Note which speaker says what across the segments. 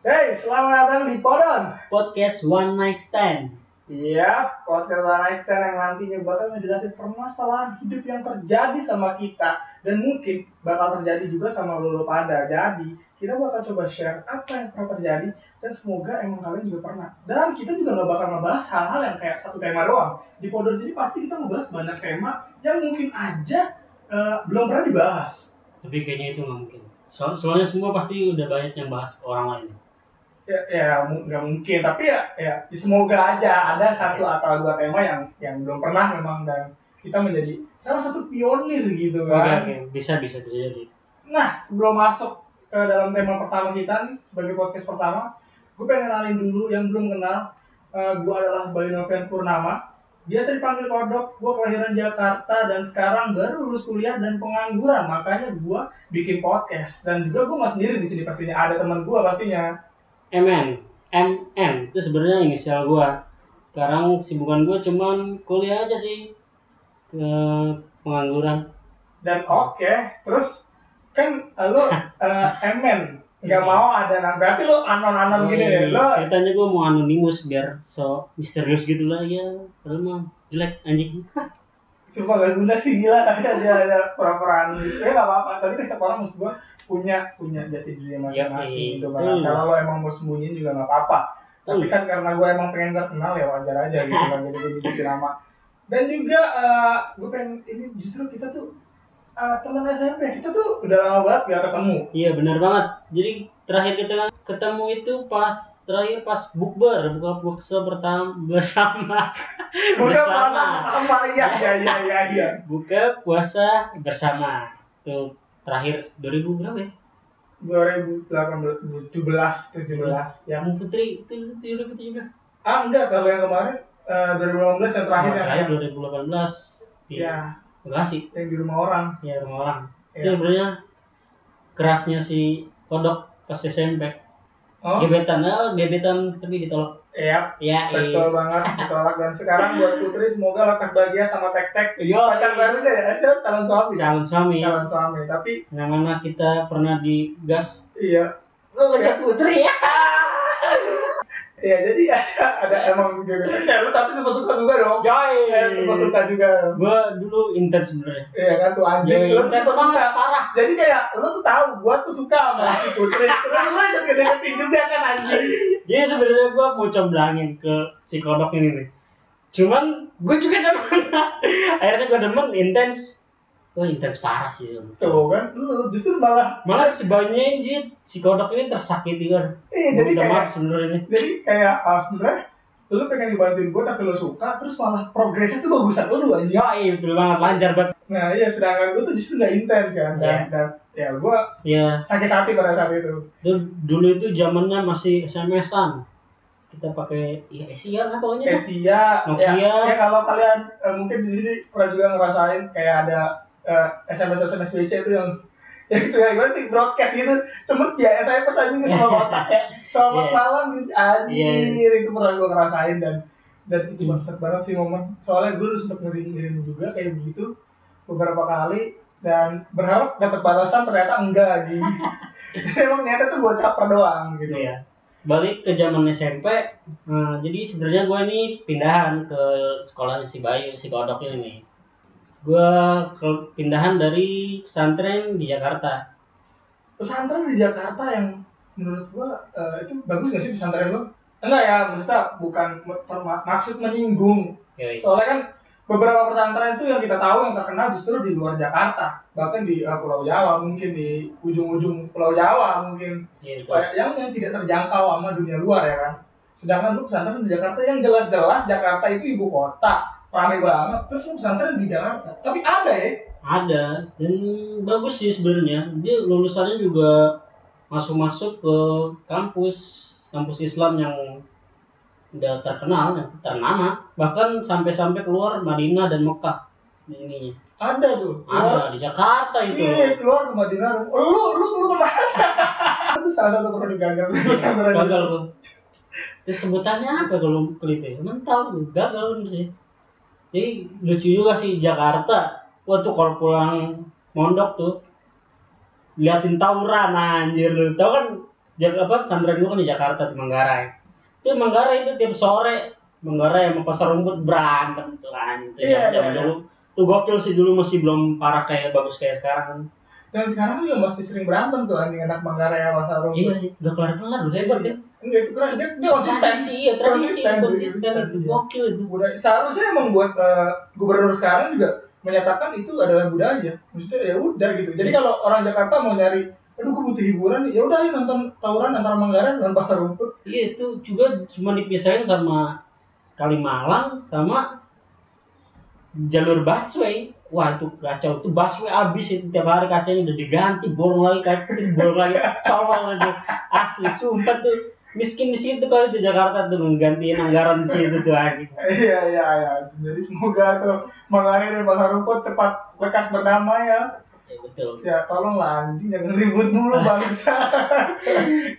Speaker 1: Hey, selamat datang di Podons.
Speaker 2: Podcast One Night Stand.
Speaker 1: Iya, podcast Lanaister yang nantinya bakal ngejelasin permasalahan hidup yang terjadi sama kita dan mungkin bakal terjadi juga sama lulu pada. Jadi, kita bakal coba share apa yang pernah terjadi dan semoga emang kalian juga pernah. Dan kita juga nggak bakal ngebahas hal-hal yang kayak satu tema doang. Di Podons ini pasti kita ngebahas banyak tema yang mungkin aja eh, belum pernah dibahas.
Speaker 2: Tapi kayaknya itu nggak mungkin. So- soalnya semua pasti udah banyak yang bahas ke orang lain.
Speaker 1: Ya, ya mu- nggak mungkin, tapi ya, ya semoga aja ada satu atau dua tema yang yang belum pernah memang dan kita menjadi salah satu pionir gitu
Speaker 2: Oke,
Speaker 1: kan.
Speaker 2: oke. bisa bisa bisa jadi.
Speaker 1: Nah, sebelum masuk ke dalam tema pertama kita nih, sebagai podcast pertama, gue pengen kenalin dulu yang belum kenal, eh, gue adalah Bayu Novian Purnama. Biasa dipanggil Kodok, gue kelahiran Jakarta dan sekarang baru lulus kuliah dan pengangguran, makanya gue bikin podcast. Dan juga gue nggak sendiri di sini pastinya, ada teman gue pastinya.
Speaker 2: MN, MM itu sebenarnya inisial gua. Sekarang sibukan gua cuman kuliah aja sih. Ke pengangguran.
Speaker 1: Dan oke, terus kan eh, lo eh, MN, nggak
Speaker 2: Hmm.
Speaker 1: mau ada, nah, berarti lo anon-anon gini deh, lo
Speaker 2: Ceritanya gua mau anonimus biar so misterius gitu lah ya. Padahal mah jelek anjing.
Speaker 1: Cuma gak guna sih gila tapi ada ada perang-perang gitu ya gak apa-apa tapi kan setiap orang maksud gua punya punya jati diri
Speaker 2: Yoi.
Speaker 1: masing-masing gitu kan
Speaker 2: Iya, Hmm.
Speaker 1: kalau lo emang mau sembunyiin juga gak apa-apa tapi
Speaker 2: Hmm.
Speaker 1: kan karena gua emang pengen terkenal ya wajar aja gitu kan jadi gue bikin nama dan juga eh, gua pengen ini justru kita tuh eh, teman SMP kita tuh udah lama banget gak ketemu
Speaker 2: Iya benar banget. Jadi terakhir kita ketemu itu pas terakhir pas bukber buka puasa pertama bersama
Speaker 1: udah
Speaker 2: bersama
Speaker 1: pernah pertama iya iya iya iya iya
Speaker 2: buka puasa bersama tuh terakhir 2000 berapa ya?
Speaker 1: 2018 17 17 ya
Speaker 2: Kamu Putri itu itu 2017.
Speaker 1: ah enggak kalau yang kemarin eh, 2018 yang terakhir yang-
Speaker 2: Terakhir
Speaker 1: yang
Speaker 2: 2018 di
Speaker 1: ya
Speaker 2: Bekasi
Speaker 1: yang di rumah orang
Speaker 2: ya rumah orang.
Speaker 1: Iya.
Speaker 2: Itu sebenarnya kerasnya si kodok pas SMP.
Speaker 1: oh
Speaker 2: Gebetan, oh, gebetan tapi ditolak.
Speaker 1: iya
Speaker 2: Ya, iya.
Speaker 1: betul banget ditolak dan sekarang buat Putri semoga lekas bahagia sama tek tek
Speaker 2: Yo,
Speaker 1: pacar
Speaker 2: iya.
Speaker 1: baru deh aja calon suami
Speaker 2: calon suami.
Speaker 1: calon suami tapi
Speaker 2: yang mana kita pernah digas
Speaker 1: iya
Speaker 2: lo ngecek putri ya
Speaker 1: iya jadi ada, ada emang gebetan ya lu tapi sempat suka juga dong
Speaker 2: Iya,
Speaker 1: Eh, sempat suka juga
Speaker 2: gue dulu intens sebenarnya
Speaker 1: iya kan tuh anjing
Speaker 2: Yoi,
Speaker 1: lu
Speaker 2: intens
Speaker 1: sempat suka
Speaker 2: banget, parah.
Speaker 1: jadi kayak lu tuh tahu gua tuh suka sama si Putri terus lu ajak deketin juga kan anjing
Speaker 2: jadi sebenarnya gue mau comblangin ke si kodok ini nih cuman gue juga demen akhirnya gue demen intens gue intens parah sih lu.
Speaker 1: tuh kan lu justru malah
Speaker 2: malah sebanyak jid si kodok ini tersakiti kan
Speaker 1: Iya, jadi
Speaker 2: Minta
Speaker 1: kayak-
Speaker 2: maaf sebenarnya ini
Speaker 1: jadi kayak uh, sebenarnya lu pengen dibantuin gue tapi lu suka terus malah progresnya tuh bagusan lu aja
Speaker 2: ya iya betul banget lancar banget
Speaker 1: nah iya sedangkan gue tuh justru gak intens kan dan,
Speaker 2: Iya.
Speaker 1: dan ya gue
Speaker 2: ya
Speaker 1: sakit hati pada saat itu
Speaker 2: itu dulu itu zamannya masih SMS-an kita pakai ya Asian lah pokoknya
Speaker 1: Asia ya,
Speaker 2: Nokia.
Speaker 1: ya kalau kalian eh, mungkin di sini pernah juga ngerasain kayak ada eh, SMS SMS WC itu yang yang kayak gue sih broadcast gitu cuma ya SMS aja nggak sama otak kayak ya. selamat
Speaker 2: Iya.
Speaker 1: malam gitu anjir
Speaker 2: Iya.
Speaker 1: itu pernah gue ngerasain dan dan itu bangsat banget sih momen soalnya gue udah sempet ngirim-ngirim juga kayak begitu beberapa kali dan berharap dapat balasan ternyata enggak gitu emang niatnya tuh buat caper doang gitu
Speaker 2: Iya. Balik ke zaman SMP, eh, jadi sebenarnya gue ini pindahan ke sekolah si Bayu, si Kodok ini nih. Gue ke- pindahan dari pesantren di Jakarta.
Speaker 1: pesantren di Jakarta yang menurut gua eh, itu bagus gak sih pesantren lo? Enggak ya, maksudnya bukan berma- maksud menyinggung.
Speaker 2: Yoi.
Speaker 1: Soalnya kan beberapa pesantren itu yang kita tahu yang terkenal justru di luar Jakarta, bahkan di eh, Pulau Jawa mungkin di ujung-ujung Pulau Jawa mungkin
Speaker 2: Iya, itu.
Speaker 1: Kayak yang yang tidak terjangkau sama dunia luar ya kan. Sedangkan lu pesantren di Jakarta yang jelas-jelas Jakarta itu ibu kota, ramai banget. Terus lu pesantren di Jakarta, tapi ada ya.
Speaker 2: Ada dan bagus sih sebenarnya. Dia lulusannya juga masuk-masuk ke kampus kampus Islam yang udah terkenal, yang ternama. Bahkan sampai-sampai keluar Madinah dan Mekah di ininya.
Speaker 1: Ada tuh.
Speaker 2: Ada di Jakarta itu.
Speaker 1: Iya, keluar ke Madinah. Lu Oh, lu lu kemana? itu salah satu produk Iya, gagal. Pesantren.
Speaker 2: gagal gua terus sebutannya apa kalau klipnya mental gua gagal gua sih jadi lucu juga sih Jakarta waktu kalau pulang mondok tuh liatin tawuran anjir lu tau kan dia apa sandra dulu kan di Jakarta di Manggarai itu Manggarai itu tiap sore Manggarai sama pasar rumput berantem tuh kan itu
Speaker 1: Iya,
Speaker 2: zaman
Speaker 1: iya,
Speaker 2: dulu tuh gokil sih dulu masih belum parah kayak bagus kayak sekarang
Speaker 1: Dan sekarang juga masih sering berantem tuh anjing anak Manggarai sama Pasar
Speaker 2: iya
Speaker 1: Rumput.
Speaker 2: sih udah kelar kelar udah hebat ya
Speaker 1: Enggak itu kurang dia, dia konsisten.
Speaker 2: tradisi ya
Speaker 1: iya,
Speaker 2: tradisi
Speaker 1: Konsisten,
Speaker 2: konsisten itu
Speaker 1: konsisten, iya.
Speaker 2: gokil itu
Speaker 1: budaya seharusnya emang buat eh, gubernur sekarang juga menyatakan itu adalah budaya maksudnya ya udah gitu jadi kalau orang Jakarta mau nyari aduh gue butuh hiburan nih, ya udah ayo nonton tawuran antara Manggarai dan Pasar Rumput
Speaker 2: Iya itu juga cuma dipisahin sama Kalimalang sama jalur busway. Wah itu kacau itu busway abis itu tiap hari kacanya udah diganti bolong lagi kaca bolong lagi tolong aja asli sumpah tuh miskin di situ kali di Jakarta tuh menggantiin anggaran di situ tuh ah, gitu. lagi.
Speaker 1: iya iya iya jadi semoga tuh Manggarai dan Pasar Rumput cepat lekas berdamai ya
Speaker 2: Ya, betul.
Speaker 1: ya tolonglah anjing jangan ribut mulu bangsa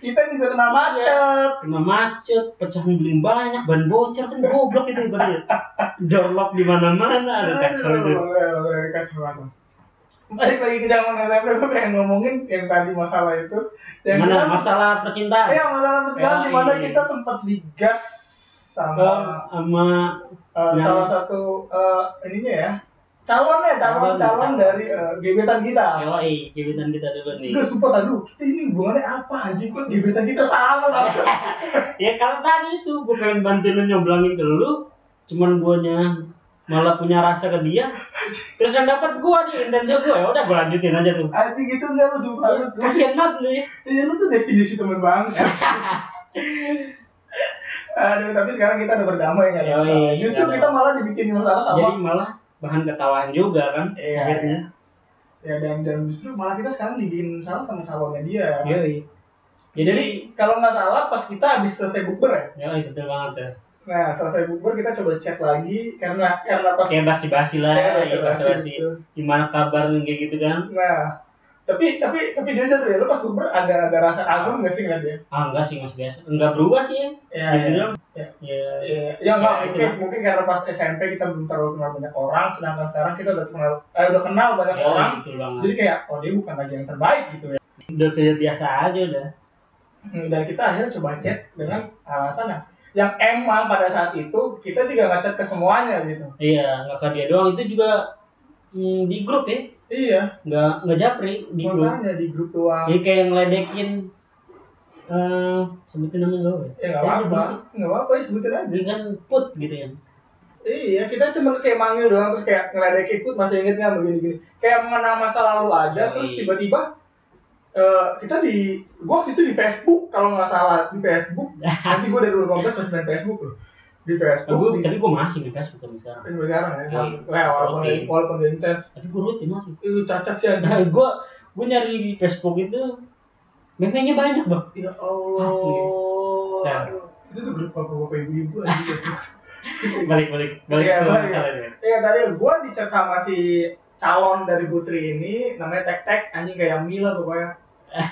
Speaker 1: kita juga kena
Speaker 2: Iya.
Speaker 1: macet
Speaker 2: Kena macet, pecah beling banyak, ban bocor kan goblok itu ibaratnya. Dorlok di mana-mana ada kacau itu.
Speaker 1: Aduh, aduh, kacau banget. Balik lagi ke zaman SMP, gue pengen ngomongin yang tadi masalah itu. Yang
Speaker 2: Mana
Speaker 1: kita-
Speaker 2: masalah percintaan?
Speaker 1: Iya masalah percintaan
Speaker 2: Ya,
Speaker 1: di mana
Speaker 2: iya.
Speaker 1: kita sempat digas sama
Speaker 2: Em, sama
Speaker 1: eh,
Speaker 2: yang-
Speaker 1: salah satu eh, ininya ya calonnya calon
Speaker 2: Calon, Iya,
Speaker 1: calon
Speaker 2: calon.
Speaker 1: dari eh, gebetan kita.
Speaker 2: Yoi, gebetan kita dulu nih.
Speaker 1: Gue sempat aduh kita ini hubungannya apa anjing kok gebetan kita sama maksud.
Speaker 2: Ya kalau tadi itu gue pengen bantuin lu nyoblangin ke lu, cuman guanya malah punya rasa ke dia. Terus yang dapat gua nih intensi gua ya udah gua lanjutin aja tuh.
Speaker 1: Anjing gitu enggak lu sumpah lu.
Speaker 2: Kasian banget lu ya.
Speaker 1: Iya lu tuh definisi teman bangsa. Aduh, tapi sekarang kita udah berdamai kan.
Speaker 2: Yoi,
Speaker 1: Justru
Speaker 2: iya.
Speaker 1: kita malah dibikin masalah sama
Speaker 2: Jadi malah bahan ketawaan juga kan
Speaker 1: Iya.
Speaker 2: akhirnya.
Speaker 1: ya dan dan justru malah kita sekarang dibikin salah sama calonnya dia.
Speaker 2: Yoi.
Speaker 1: Jadi
Speaker 2: Iya. Ya, Jadi,
Speaker 1: kalau nggak salah pas kita habis selesai bukber ya.
Speaker 2: yoi betul banget ya.
Speaker 1: Nah selesai bukber kita coba cek lagi karena karena pas Iya,
Speaker 2: Kayak basi-basi lah,
Speaker 1: Kayak
Speaker 2: ya,
Speaker 1: basa-basi
Speaker 2: basi-basi.
Speaker 1: gitu.
Speaker 2: Gimana kabar kayak gitu kan?
Speaker 1: nah tapi tapi tapi dia jatuh ya lu pas bukber ada ada rasa agung nggak sih ngeliat dia?
Speaker 2: Ah enggak sih mas biasa, enggak berubah sih ya.
Speaker 1: Ya,
Speaker 2: Dibilang,
Speaker 1: ya.
Speaker 2: ya,
Speaker 1: Ya, ya nggak
Speaker 2: Ya, itu
Speaker 1: mungkin
Speaker 2: lah.
Speaker 1: mungkin karena pas SMP kita belum terlalu kenal banyak orang sedangkan sekarang kita udah kenal eh, udah kenal banyak
Speaker 2: Yoi,
Speaker 1: orang
Speaker 2: betul banget.
Speaker 1: jadi kayak oh dia bukan lagi yang terbaik gitu ya
Speaker 2: gitu udah kayak biasa aja udah
Speaker 1: Hmm, dan kita akhirnya coba chat dengan alasan yang- yang emang pada saat itu kita juga ngechat ke semuanya gitu
Speaker 2: iya nggak ke dia doang itu juga mm, di grup ya
Speaker 1: iya
Speaker 2: nggak nggak japri di grup Iya.
Speaker 1: makanya di grup doang
Speaker 2: jadi kayak ngeledekin eh sebutin namanya nggak apa
Speaker 1: ya nggak apa-apa nggak apa-apa ya sebutin aja
Speaker 2: ini gitu kan put gitu ya
Speaker 1: iya kita cuma kayak manggil doang terus kayak ngeledek ikut masih inget nggak begini-gini kayak mengenang masa lalu aja
Speaker 2: Yoi.
Speaker 1: terus tiba-tiba eh, kita di gua waktu itu di Facebook kalau nggak salah di Facebook nanti gua dari 2015 masih main Facebook loh di
Speaker 2: Tapi
Speaker 1: Facebook
Speaker 2: gua,
Speaker 1: di,
Speaker 2: tapi gue masih main Facebook sampai sekarang
Speaker 1: sampai sekarang ya
Speaker 2: Yoi.
Speaker 1: Wah, walaupun
Speaker 2: Rutin.
Speaker 1: walaupun dia intens
Speaker 2: tapi gue rutin masih
Speaker 1: itu cacat sih anjing
Speaker 2: nah, gue gue nyari di Facebook itu meme-nya banyak bang
Speaker 1: Ya Allah.
Speaker 2: Asli. Ya.
Speaker 1: Aduh, Itu tuh grup bapak-bapak ibu-ibu aja.
Speaker 2: balik balik balik
Speaker 1: Iya,
Speaker 2: ke
Speaker 1: balik.
Speaker 2: masalahnya
Speaker 1: Iya tadi gua dicat sama si calon dari putri ini namanya tek tek anjing kayak Mila pokoknya.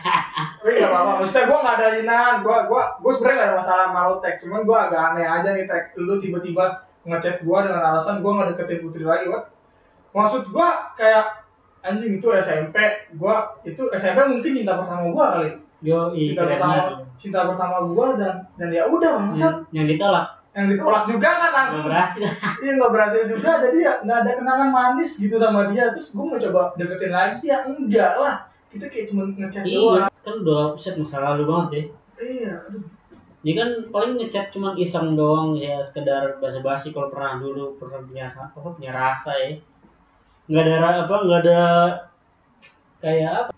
Speaker 1: Tapi gak apa-apa, maksudnya gua gak ada hinaan, gua gua gua sebenarnya gak ada masalah sama lo tek, cuman gua agak aneh aja nih tek, lu tiba-tiba ngechat gua dengan alasan gua gak deketin putri lagi, what? Maksud gua kayak anjing itu SMP, gua itu SMP mungkin cinta pertama gua kali
Speaker 2: yo iya
Speaker 1: cinta
Speaker 2: keren
Speaker 1: pertama
Speaker 2: banget
Speaker 1: cinta pertama gua dan dan ya udah
Speaker 2: yang,
Speaker 1: maksud
Speaker 2: yang ditolak
Speaker 1: yang ditolak juga kan
Speaker 2: nggak
Speaker 1: langsung
Speaker 2: berhasil
Speaker 1: iya nggak berhasil juga jadi ya nggak ada kenangan manis gitu sama dia terus gua mau coba deketin lagi ya enggak lah kita kayak cuma ngechat
Speaker 2: iya
Speaker 1: doang
Speaker 2: kan udah set masa lalu banget ya
Speaker 1: iya aduh
Speaker 2: Dia kan paling ngechat cuman iseng doang ya sekedar basa-basi kalau pernah dulu pernah punya sa- apa punya rasa ya. Nggak ada ra- apa nggak ada kayak apa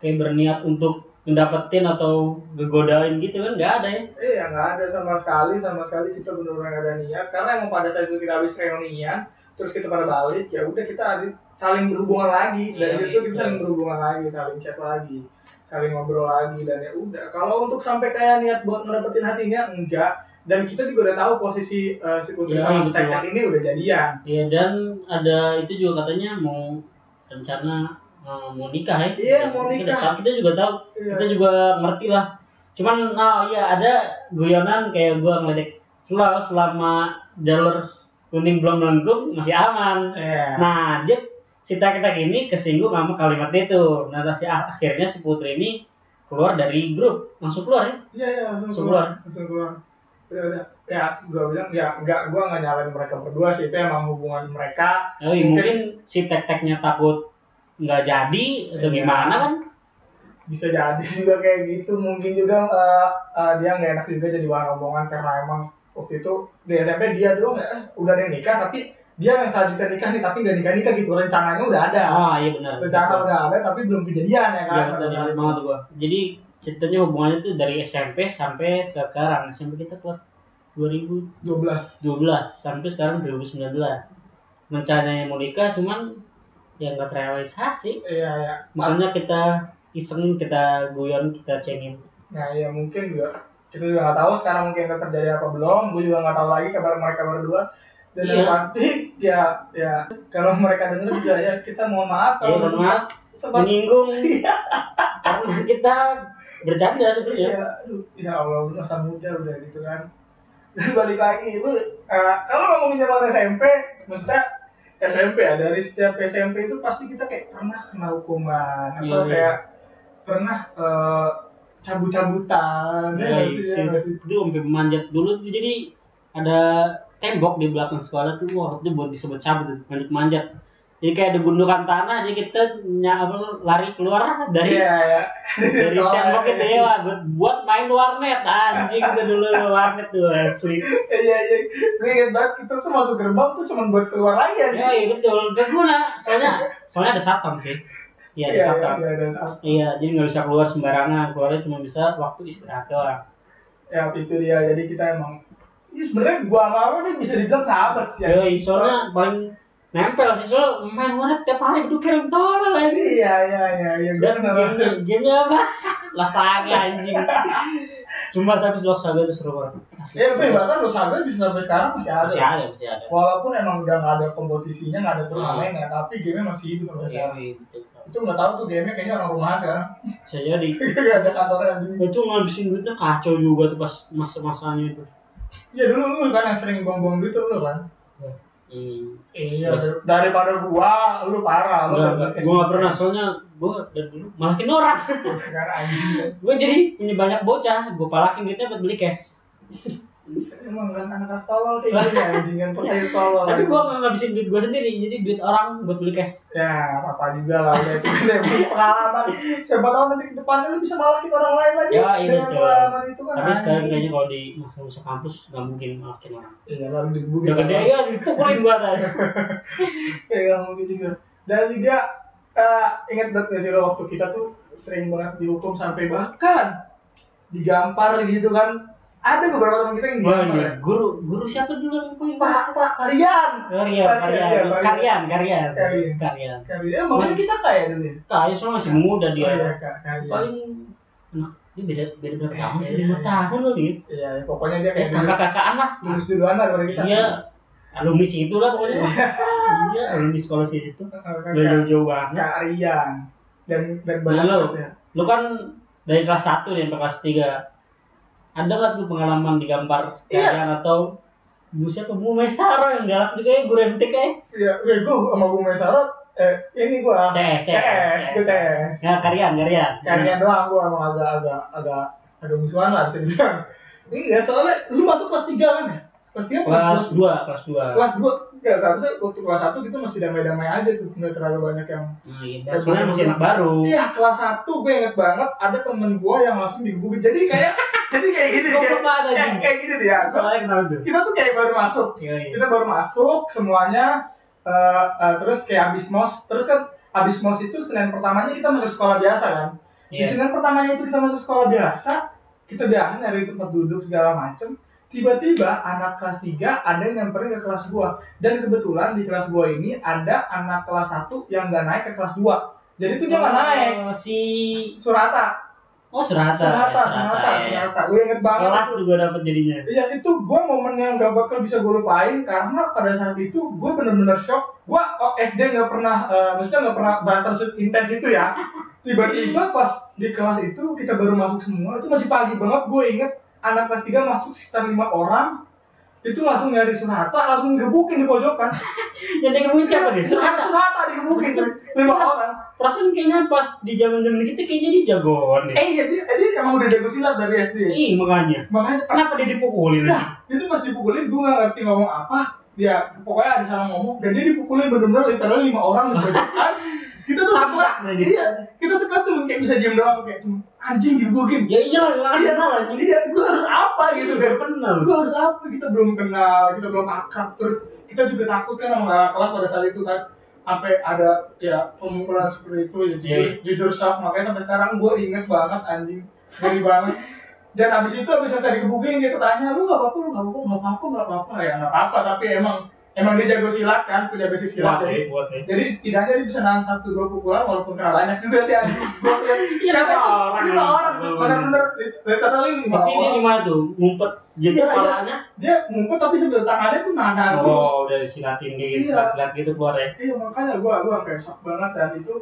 Speaker 2: kayak berniat untuk ngedapetin atau ngegodain gitu kan nggak ada ya.
Speaker 1: iya nggak ada sama sekali sama sekali kita benar-benar nggak ada niat karena emang pada saat itu kita habis reunian terus kita pada balik ya udah kita ada- saling berhubungan lagi dan itu
Speaker 2: Iya, iya.
Speaker 1: kita saling berhubungan lagi saling chat lagi saling ngobrol lagi dan ya udah kalau untuk sampai kayak niat buat ngedapetin hatinya enggak dan kita juga udah tahu posisi eh, si putri
Speaker 2: Iya,
Speaker 1: sama si
Speaker 2: betul.
Speaker 1: Tekan ini udah jadian
Speaker 2: Iya dan ada itu juga katanya mau rencana eh, mau nikah ya.
Speaker 1: Iya, mau
Speaker 2: Kita
Speaker 1: nikah.
Speaker 2: tahu- Kita juga tahu,
Speaker 1: Iya.
Speaker 2: kita juga ngerti lah. Cuman oh iya ada guyonan kayak gua ngeledek selalu selama jalur kuning belum melengkung masih aman.
Speaker 1: Iya.
Speaker 2: Nah, dia si tak ini kesinggung sama kalimat itu. Nah, si akhirnya si putri ini keluar dari grup langsung keluar ya
Speaker 1: Iya iya langsung
Speaker 2: Langsung
Speaker 1: keluar, langsung keluar. Udah, udah. Ya, gua bilang ya nggak, gua nggak nyalain mereka berdua sih. Itu emang hubungan mereka.
Speaker 2: Oh, iya, mungkin si tek-teknya takut nggak jadi atau
Speaker 1: Iya.
Speaker 2: gimana kan
Speaker 1: bisa jadi juga kayak gitu. Mungkin juga eh, eh, dia nggak enak juga jadi bahan omongan karena emang waktu itu di SMP dia doang ya, eh, udah ada yang nikah tapi dia yang selanjutnya nikah nih tapi nggak nikah nikah gitu rencananya udah ada
Speaker 2: ah iya benar
Speaker 1: rencana udah ada tapi belum kejadian ya kan
Speaker 2: Iya, betul sekali banget gua. Jadi ceritanya hubungannya tuh dari SMP sampai sekarang. SMP kita keluar 2012
Speaker 1: dua belas
Speaker 2: sampai sekarang 2019. Rencananya mau nikah cuman ya nggak terrealisasi.
Speaker 1: iya iya
Speaker 2: Makanya kita iseng kita guyon kita cengin.
Speaker 1: Nah ya mungkin juga kita juga nggak tahu sekarang mungkin akan terjadi apa belum. Gue juga nggak tahu lagi kabar mereka berdua. Dan yang
Speaker 2: Iya.
Speaker 1: pasti ya ya kalau mereka dengar juga ya kita mohon maaf
Speaker 2: Ya
Speaker 1: kalau
Speaker 2: mohon
Speaker 1: sempat
Speaker 2: maaf
Speaker 1: sempat Iya.
Speaker 2: menyinggung karena kita bercanda sebenarnya.
Speaker 1: ya aduh, ya Allah lu masa muda udah gitu kan. Dan balik lagi itu eh, kalau ngomongin zaman SMP maksudnya SMP ya dari setiap SMP itu pasti kita kayak pernah kena hukuman atau
Speaker 2: Iya, iya.
Speaker 1: kayak pernah eh, cabut-cabutan ya
Speaker 2: Ya,
Speaker 1: nggak sih, ya
Speaker 2: si-
Speaker 1: nggak sih?
Speaker 2: dia sampai manjat dulu tuh jadi ada tembok di belakang sekolah tuh wah itu buat disebut cabut tuh, manjat-manjat. Jadi kayak ada gundukan tanah jadi kita nya- apa, lari keluar dari
Speaker 1: Iya, iya.
Speaker 2: dari
Speaker 1: Soalnya,
Speaker 2: tembok itu ya wah, buat, buat main warnet anjing itu dulu warnet tuh asli.
Speaker 1: Iya iya, gue inget banget itu tuh masuk gerbang tuh cuma buat keluar lagi aja.
Speaker 2: Ya iya, betul gak guna soalnya soalnya ada satpam sih. Iya ada satpam.
Speaker 1: iya, dan up.
Speaker 2: Iya jadi nggak bisa keluar sembarangan keluarnya cuma bisa waktu istirahat doang.
Speaker 1: ya itu dia. Jadi kita emang, ini sebenarnya gua sama lo nih bisa dibilang sahabat sih. ya.
Speaker 2: Ya, soalnya paling nempel sih soalnya main warnet tiap hari udah kirim tolol
Speaker 1: Soalnya-
Speaker 2: lagi.
Speaker 1: Iya iya iya, iya. Gue
Speaker 2: Dan
Speaker 1: kenal
Speaker 2: gamenya, gamenya apa? Lasaga anjing. Cuma tapi lasaga itu seru banget. Asli.
Speaker 1: Ya tapi bahkan lo sadar bisa sampai sekarang masih ada.
Speaker 2: Masih ada, masih ada.
Speaker 1: Walaupun emang udah nggak ada kompetisinya, nggak ada turnamennya, tapi game masih hidup sampai
Speaker 2: Iya,
Speaker 1: sekarang.
Speaker 2: gitu.
Speaker 1: Itu nggak tahu tuh game kayaknya orang rumahan sekarang.
Speaker 2: Bisa jadi.
Speaker 1: Gak ada kantornya anjing.
Speaker 2: Itu ngabisin duitnya kacau juga tuh pas masa-masanya itu.
Speaker 1: Ya dulu lu kan yang sering buang-buang duit tuh lu kan.
Speaker 2: Hmm.
Speaker 1: Iya. dar- Daripada gua, lu parah. Lu
Speaker 2: Enggak,
Speaker 1: kan-
Speaker 2: enggak. Gua nggak pernah soalnya gua dari dulu malakin orang.
Speaker 1: Kan anjing kan.
Speaker 2: Gua jadi punya banyak bocah, gua palakin duitnya buat beli cash.
Speaker 1: Emang kan anak-anak tolol kayak gini anjingan petir tolol.
Speaker 2: Iya. Tapi gua nggak ngabisin duit gua sendiri, jadi duit orang buat beli cash.
Speaker 1: Ya, apa juga lah udah itu kan emang pengalaman. Siapa tahu nanti ke depannya lu bisa malakin orang lain lagi.
Speaker 2: Ya, iya,
Speaker 1: Dengan
Speaker 2: betul.
Speaker 1: pengalaman itu kan.
Speaker 2: Tapi sekarang
Speaker 1: anjing.
Speaker 2: kayaknya kalau di masa-masa kampus nggak mungkin malakin orang.
Speaker 1: Iya, lalu digebukin.
Speaker 2: Udah gede ya dipukulin gua dah.
Speaker 1: Iya, mungkin juga. Dan juga eh, ingat banget gak sih lo waktu kita tuh sering banget dihukum sampai bahkan digampar gitu kan. Ada beberapa teman kita yang
Speaker 2: Wah,
Speaker 1: digampar.
Speaker 2: iya. guru guru siapa dulu yang Oh, iya, paling parah?
Speaker 1: Pak, Pak, kalian.
Speaker 2: Karya, karya, karya, karya,
Speaker 1: ya, Karya.
Speaker 2: karya.
Speaker 1: Kalian, makanya kita kaya dulu ya.
Speaker 2: Kayaknya Nah, iya, soalnya masih muda
Speaker 1: Iya.
Speaker 2: dia.
Speaker 1: Kalian.
Speaker 2: Paling anak dia beda beda berapa tahun sih? Lima tahun kali.
Speaker 1: Iya, pokoknya dia
Speaker 2: Ya,
Speaker 1: kayak dulu-
Speaker 2: kakak-kakaan lah.
Speaker 1: lulus duluan lah dari kita.
Speaker 2: Iya. Alumni situ lah pokoknya. Iya, alumni sekolah situ.
Speaker 1: Kakak-
Speaker 2: Udah jauh-jauh banget.
Speaker 1: Kak Rian dan dan
Speaker 2: Nah, lo,
Speaker 1: ya.
Speaker 2: lo kan dari kelas 1 nih sampai kelas 3 ada nggak tuh pengalaman digampar
Speaker 1: Iya.
Speaker 2: kalian atau Bu siapa? Bu Mesaro yang galak juga ya, Bu Rentik ya.
Speaker 1: Iya, gue gue sama Bu Mesarot eh ini gue
Speaker 2: CS,
Speaker 1: CS, gue CS.
Speaker 2: Ya, karyan, karyan.
Speaker 1: Kalian doang gue emang agak agak agak agak musuhan lah bisa dibilang. Iya, soalnya lu masuk kelas 3 kan ya? Kelas 3 kelas
Speaker 2: kelas 2 kelas
Speaker 1: 2.
Speaker 2: 2
Speaker 1: Kelas 2 enggak seharusnya waktu kelas 1 kita masih damai-damai aja tuh, enggak terlalu banyak yang
Speaker 2: nah, iya, soalnya masih anak baru
Speaker 1: Iya, kelas 1 gue inget banget ada temen gue yang langsung digebukin. Jadi kayak jadi kayak gini
Speaker 2: Kok
Speaker 1: kayak,
Speaker 2: belum ada,
Speaker 1: kayak,
Speaker 2: Jim?
Speaker 1: kayak gini dia. So,
Speaker 2: soalnya kenal tuh
Speaker 1: kita tuh kayak baru masuk.
Speaker 2: iya iya
Speaker 1: kita baru masuk semuanya eh, eh, terus kayak abis mos terus kan abis mos itu senin pertamanya kita masuk sekolah biasa kan di
Speaker 2: Iya.
Speaker 1: senin pertamanya itu kita masuk sekolah biasa kita biasa nyari tempat duduk segala macem tiba-tiba anak kelas 3 ada yang nyamperin ke kelas gua dan kebetulan di kelas gua ini ada anak kelas 1 yang nggak naik ke kelas 2 jadi tuh dia nggak naik
Speaker 2: Oh, si
Speaker 1: surata
Speaker 2: oh serata
Speaker 1: surata
Speaker 2: ya,
Speaker 1: surata
Speaker 2: ya.
Speaker 1: surata gue inget banget
Speaker 2: kelas
Speaker 1: itu.
Speaker 2: juga dapat jadinya
Speaker 1: Iya itu gue momen yang gak bakal bisa gue lupain karena pada saat itu gue bener-bener shock. Gue oh, SD nggak pernah, eh, maksudnya nggak pernah banter intens itu ya. Tiba-tiba pas di kelas itu kita baru masuk semua, itu masih pagi banget. Gue inget anak kelas 3 masuk sekitar lima orang, itu langsung nyari Sunata, langsung gebukin di pojokan.
Speaker 2: yang dia ngebuin siapa nih
Speaker 1: Sunata,
Speaker 2: serata
Speaker 1: Sunata digebukin. lima orang
Speaker 2: perasaan kayaknya pas di zaman zaman kita kayaknya dia jagoan deh
Speaker 1: eh iya dia, dia emang udah jago silat dari SD
Speaker 2: Ih, makanya
Speaker 1: Iya, makanya pas
Speaker 2: kenapa dia dipukulin
Speaker 1: Nah, itu pas dipukulin gue gak ngerti ngomong apa. Dia pokoknya ada salah ngomong dan dia dipukulin benar-benar literal lima orang di pojokan. Kita tuh
Speaker 2: Sama
Speaker 1: sekelas,
Speaker 2: lah dia.
Speaker 1: iya, kita sekelas cuma kayak bisa diem doang kayak cuma anjing gitu gue game.
Speaker 2: ya iyalah nggak
Speaker 1: Iya,
Speaker 2: kenal
Speaker 1: iya,
Speaker 2: lagi
Speaker 1: iya, gue harus apa gitu kan?
Speaker 2: kenal
Speaker 1: Gue harus apa? Kita belum kenal, kita belum akrab, terus kita juga takut kan sama kakak kelas pada saat itu kan sampai ada ya pemukulan seperti itu ya, jujur,
Speaker 2: Iya.
Speaker 1: jujur shock makanya sampai sekarang gue inget banget anjing dari banget dan abis itu abis selesai dikebukin dia tanya lu gak apa-apa lu gak apa-apa gak apa-apa gak apa-apa ya gak apa-apa tapi emang emang dia jago silat kan punya basic
Speaker 2: buat
Speaker 1: silat
Speaker 2: ya
Speaker 1: jadi,
Speaker 2: buat ya
Speaker 1: jadi setidaknya dia bisa nahan satu dua pukulan walaupun kena banyak juga sih anjing gue liat
Speaker 2: Iya,
Speaker 1: kata
Speaker 2: lima orang.
Speaker 1: lima orang tuh, bener-bener literally lima
Speaker 2: tapi dia
Speaker 1: orang
Speaker 2: gimana tuh ngumpet
Speaker 1: Iya,
Speaker 2: gitu
Speaker 1: iya.
Speaker 2: kepalanya
Speaker 1: dia ngumpet tapi sebelah tangannya tuh nahan terus
Speaker 2: oh udah silatin
Speaker 1: Iya.
Speaker 2: gitu silat-silat gitu keluar ya
Speaker 1: Iya makanya gue gue sampai shock banget dan itu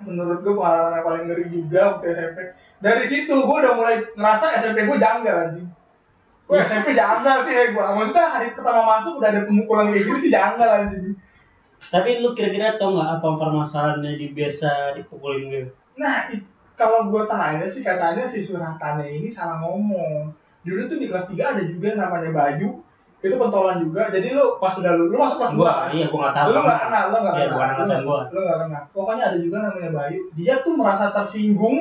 Speaker 1: menurut gue pengalaman yang paling ngeri juga waktu SMP. Dari situ gue udah mulai ngerasa SMP gue janggal anjing. Gue
Speaker 2: Iya.
Speaker 1: SMP janggal sih gue. Maksudnya hari pertama masuk udah ada pemukulan kayak gini sih janggal anjing.
Speaker 2: tapi lu kira-kira tau nggak apa permasalahannya di biasa dipukulin gitu
Speaker 1: Nah i- kalau gue tanya sih katanya si suratannya ini salah ngomong. Dulu tuh di kelas 3 ada juga yang namanya Bayu itu pentolan juga jadi lu pas udah lu, lu masuk kelas dua
Speaker 2: gua
Speaker 1: kan?
Speaker 2: iya gua nggak tahu
Speaker 1: lu gak kenal, lu gak
Speaker 2: Iya,
Speaker 1: kenal.
Speaker 2: bukan angkatan
Speaker 1: Lu-
Speaker 2: gua.
Speaker 1: Lu gak kenal. Pokoknya ada juga namanya Bayu. Dia tuh merasa tersinggung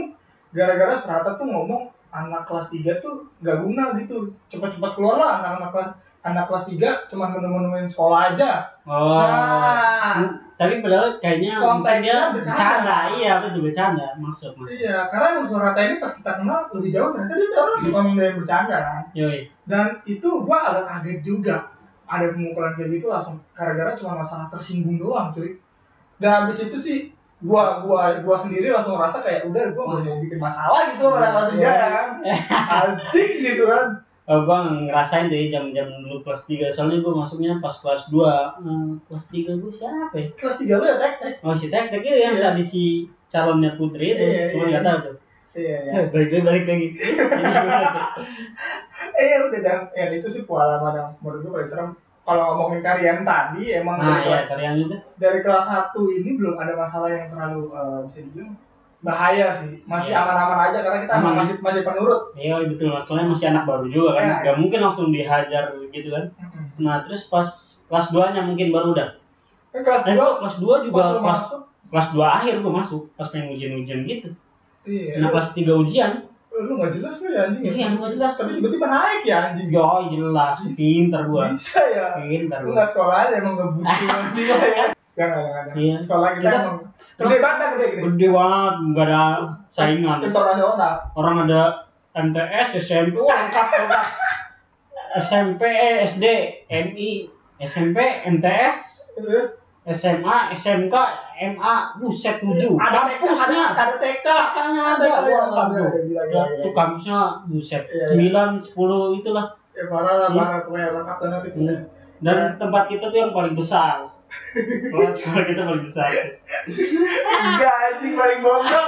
Speaker 1: gara-gara Serata tuh ngomong anak kelas 3 tuh gak guna gitu. Cepat-cepat keluar lah anak-anak kelas anak kelas 3 cuman menu-menuin sekolah aja.
Speaker 2: oh
Speaker 1: Nah.
Speaker 2: tapi padahal kayaknya
Speaker 1: Konteksnya
Speaker 2: mungkin dia
Speaker 1: bercanda.
Speaker 2: bercanda iya betul bercanda maksud maksud
Speaker 1: Iya, karena emang Serata ini pas kita kenal lebih jauh ternyata dia tuh
Speaker 2: Iya.
Speaker 1: orang emang dari bercanda kan.
Speaker 2: yoi
Speaker 1: Dan itu gua agak kaget juga. Ada pemukulan kayak gitu langsung gara-gara cuma masalah tersinggung doang cuy. Dan habis itu sih gua gua gua sendiri langsung ngerasa kayak udah gua nggak mau bikin masalah gitu sama anak kelas tiga ya kan. Anjing gitu kan.
Speaker 2: Abang Eh, ngerasain deh jam-jam dulu kelas 3 soalnya gue masuknya pas kelas 2 kelas 3 gue siapa ya?
Speaker 1: Kelas tiga lu ya tek-tek.
Speaker 2: Oh si Tek Tek itu yang
Speaker 1: Iya.
Speaker 2: tadi si calonnya Putri itu,
Speaker 1: Iya, iya,
Speaker 2: cuma nggak
Speaker 1: iya.
Speaker 2: tahu tuh.
Speaker 1: Iya ya.
Speaker 2: Eh, Balik lagi balik lagi. Jadi gimana tuh?
Speaker 1: Eh ya udah dan ya, itu sih pengalaman yang menurut gua paling serem. Kalau ngomongin karian tadi emang dari,
Speaker 2: Nah ya
Speaker 1: kelas,
Speaker 2: tarian itu.
Speaker 1: dari kelas 1 ini belum ada masalah yang terlalu eh, bisa dibilang bahaya sih. Masih
Speaker 2: Iya.
Speaker 1: aman-aman aja karena kita emang
Speaker 2: Aman.
Speaker 1: masih masih penurut.
Speaker 2: Iya betul soalnya masih anak baru juga kan,
Speaker 1: Iya,
Speaker 2: nggak mungkin langsung dihajar gitu kan.
Speaker 1: Mm-mm.
Speaker 2: Nah terus pas kelas 2 nya mungkin baru udah.
Speaker 1: Kan kelas
Speaker 2: Eh,
Speaker 1: 2
Speaker 2: kelas 2 juga
Speaker 1: pas lu
Speaker 2: kelas
Speaker 1: masuk.
Speaker 2: kelas 2 akhir gue masuk pas pengen ujian-ujian gitu.
Speaker 1: Iya.
Speaker 2: Nah kelas 3 ujian,
Speaker 1: lu nggak jelas lu ya anjing. ya?
Speaker 2: Iya, nggak jelas.
Speaker 1: Tapi tiba-tiba naik ya anjing.
Speaker 2: yoi jelas pinter gue.
Speaker 1: Bisa ya.
Speaker 2: Pinter
Speaker 1: Lu
Speaker 2: gue.
Speaker 1: nggak sekolah aja emang nggak butuh nilai ya. Gak gak gak, gak.
Speaker 2: Ah. Iya.
Speaker 1: Sekolah kita
Speaker 2: Kita
Speaker 1: emang
Speaker 2: s-
Speaker 1: gede banget gede gede.
Speaker 2: Gede banget, nggak ada saingan.
Speaker 1: Internasional.
Speaker 2: orang ada MTS, SMP, wah lengkap lengkap. SMP, SD, MI, SMP, MTS,
Speaker 1: Terus
Speaker 2: SMA, SMK, MA, buset tujuh.
Speaker 1: ada TK, ada,
Speaker 2: Kampusnya,
Speaker 1: ada TK.
Speaker 2: kakaknya ada,
Speaker 1: Ada,
Speaker 2: wah
Speaker 1: ada,
Speaker 2: lengkap
Speaker 1: ada,
Speaker 2: tuh.
Speaker 1: gila, gila,
Speaker 2: Wah,
Speaker 1: gila.
Speaker 2: Itu kampusnya buset
Speaker 1: Iya, iya.
Speaker 2: sembilan, sepuluh itulah.
Speaker 1: Ya parah lah,
Speaker 2: Iya.
Speaker 1: parah kayak lengkap banget itu.
Speaker 2: Iya. Dan tempat kita tuh yang paling besar. Tempat sekolah kita paling besar.
Speaker 1: Enggak anjing paling bodoh.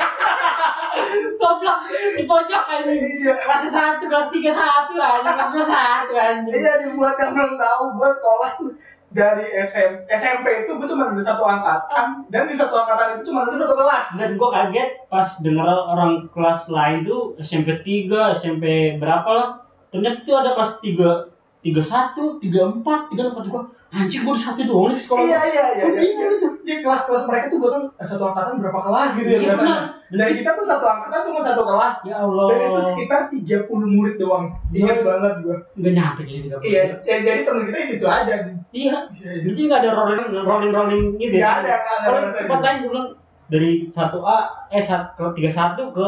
Speaker 2: Goblok, di pojok ini.
Speaker 1: Iya.
Speaker 2: Kelas satu, kelas tiga satu lah, kelas dua satu anjing.
Speaker 1: Iya dibuat yang belum tahu gue sekolah tuh dari SM, SMP itu gue cuma ada satu angkatan dan di satu angkatan itu cuma ada satu kelas.
Speaker 2: dan gue kaget pas denger orang kelas lain tuh SMP 3, SMP berapa lah ternyata tuh ada kelas 3 31, 34, 34 gue anjir gue di satu doang nih di sekolah
Speaker 1: Iya iya iya.
Speaker 2: Gua
Speaker 1: iya.
Speaker 2: bingung itu.
Speaker 1: Iya kelas-kelas mereka tuh bahkan satu angkatan berapa kelas gitu ya
Speaker 2: Iya,
Speaker 1: biasanya.
Speaker 2: benar.
Speaker 1: Dari kita tuh satu angkatan cuma satu kelas.
Speaker 2: ya Allah
Speaker 1: Dan itu sekitar 30 murid doang. Ingat
Speaker 2: Iya.
Speaker 1: banget gua.
Speaker 2: gak nyampe jadi tiga puluh.
Speaker 1: Iya, ya, jadi temen kita itu aja.
Speaker 2: iya
Speaker 1: Iya, iya.
Speaker 2: jadi gak ada rolling rolling rolling gitu
Speaker 1: Nggak ada, nggak ada
Speaker 2: kalau
Speaker 1: rasanya.
Speaker 2: tempat lain gue bilang dari 1A eh sat- ke 31 ke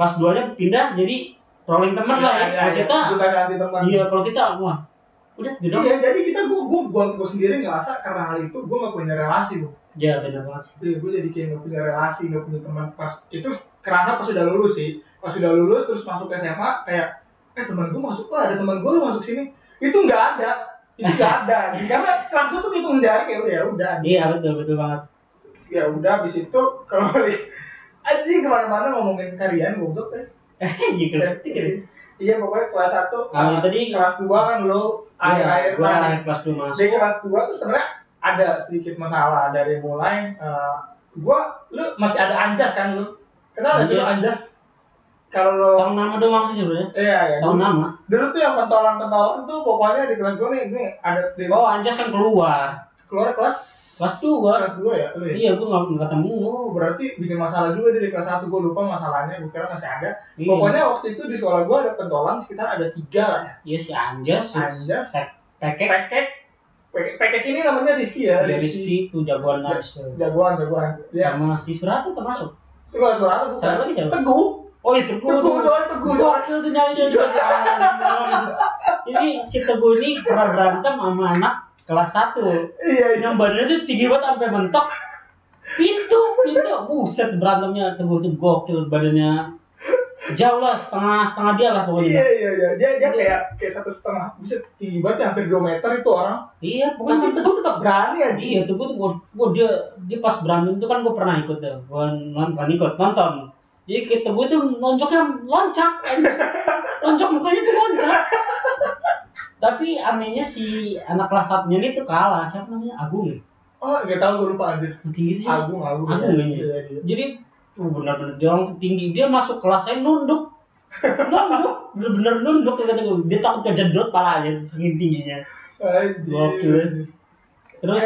Speaker 2: kelas 2 nya pindah jadi rolling temen lah ya,
Speaker 1: Iya,
Speaker 2: kalau
Speaker 1: iya.
Speaker 2: kita
Speaker 1: bukan ganti teman.
Speaker 2: iya kalau kita wah udah gitu
Speaker 1: Iya, jadi kita gua gua gua, gua sendiri ngerasa karena hal itu gua gak punya relasi gua.
Speaker 2: ya bener banget sih
Speaker 1: Iya, gue jadi kayak gak punya relasi, gak punya teman pas itu kerasa pas sudah lulus sih. Pas sudah lulus terus masuk SMA kayak eh teman gue masuk wah ada teman gue lu masuk sini itu nggak ada itu nggak ada karena kelas gue tuh hitung jari kayak udah ya udah
Speaker 2: iya betul betul banget
Speaker 1: ya udah abis itu kalau balik anjing kemana-mana ngomongin kalian goblok deh
Speaker 2: Eh, gitu.
Speaker 1: iya pokoknya kelas satu
Speaker 2: Ah, tadi- Iya,
Speaker 1: kelas dua kan lo kan. akhir akhir
Speaker 2: gua kelas dulu
Speaker 1: di
Speaker 2: masuk.
Speaker 1: kelas dua tuh sebenarnya ada sedikit masalah dari mulai eh, gua lu masih ada anjas kan lu kenal gak sih lu
Speaker 2: Anjas.
Speaker 1: anjas kalau lu
Speaker 2: Tahun nama doang sih sebenarnya.
Speaker 1: iya ya
Speaker 2: Tahun
Speaker 1: dulu,
Speaker 2: nama.
Speaker 1: dulu tuh yang pentolan pentolan tuh pokoknya di kelas gua nih nih ada di bawah
Speaker 2: Oh, Anjas kan keluar.
Speaker 1: keluar kelas
Speaker 2: Kelas dua.
Speaker 1: kelas dua ya lu ya
Speaker 2: Iya, gue nggak nggak ketemu.
Speaker 1: Oh, berarti bikin masalah juga dia di kelas 1 gue lupa masalahnya gue kira masih ada
Speaker 2: Iya.
Speaker 1: pokoknya waktu itu di sekolah gue ada pentolan sekitar ada tiga lah ya
Speaker 2: Iya si Anjas, si
Speaker 1: Anjas.
Speaker 2: Sek- Tekek,
Speaker 1: pekek pekek pekek ini namanya Rizky ya
Speaker 2: si Rizky itu jagoan naris.
Speaker 1: jagoan jagoan dia
Speaker 2: Sama si Suratu termasuk.
Speaker 1: suka suara bukan
Speaker 2: Siapa lagi siapa?
Speaker 1: teguh
Speaker 2: Oh iya Teguh.
Speaker 1: Teguh doang, Teguh doang.
Speaker 2: Gokil tuh nyari dia.
Speaker 1: Iya.
Speaker 2: Ya ampun. Ini si Teguh ini pernah berantem sama anak kelas 1.
Speaker 1: iya iya
Speaker 2: Yang badannya tuh tinggi banget sampai mentok. Pintu, pintu. Buset berantemnya Teguh tuh gokil badannya. Jauh lah setengah setengah dia lah
Speaker 1: iya
Speaker 2: pokoknya.
Speaker 1: iya iya dia dia kayak kayak satu setengah buset tinggi banget ya, hampir dua meter itu orang
Speaker 2: Iya, pokoknya
Speaker 1: tapi teguh tetap berani aja
Speaker 2: Iya tuh gue tuh gua- gua dia dia pas berantem tuh kan gue pernah ikut tuh gue nonton ikut nonton jadi kita gue tuh loncoknya loncat loncok mukanya tuh loncat tapi anehnya si anak kelas satunya ini tuh kalah siapa namanya Agung ya?
Speaker 1: oh gak tau gue lupa anjir
Speaker 2: yang tinggi itu siapa?
Speaker 1: agung agung
Speaker 2: Agung
Speaker 1: Iya,
Speaker 2: ini.
Speaker 1: iya, iya.
Speaker 2: jadi tuh benar-benar dia orang tuh tinggi dia masuk kelas saya nunduk nunduk bener-bener nunduk tuh kata gua. dia takut kejedot palanya saking tingginya
Speaker 1: Iya.
Speaker 2: Gokil.
Speaker 1: anjir
Speaker 2: terus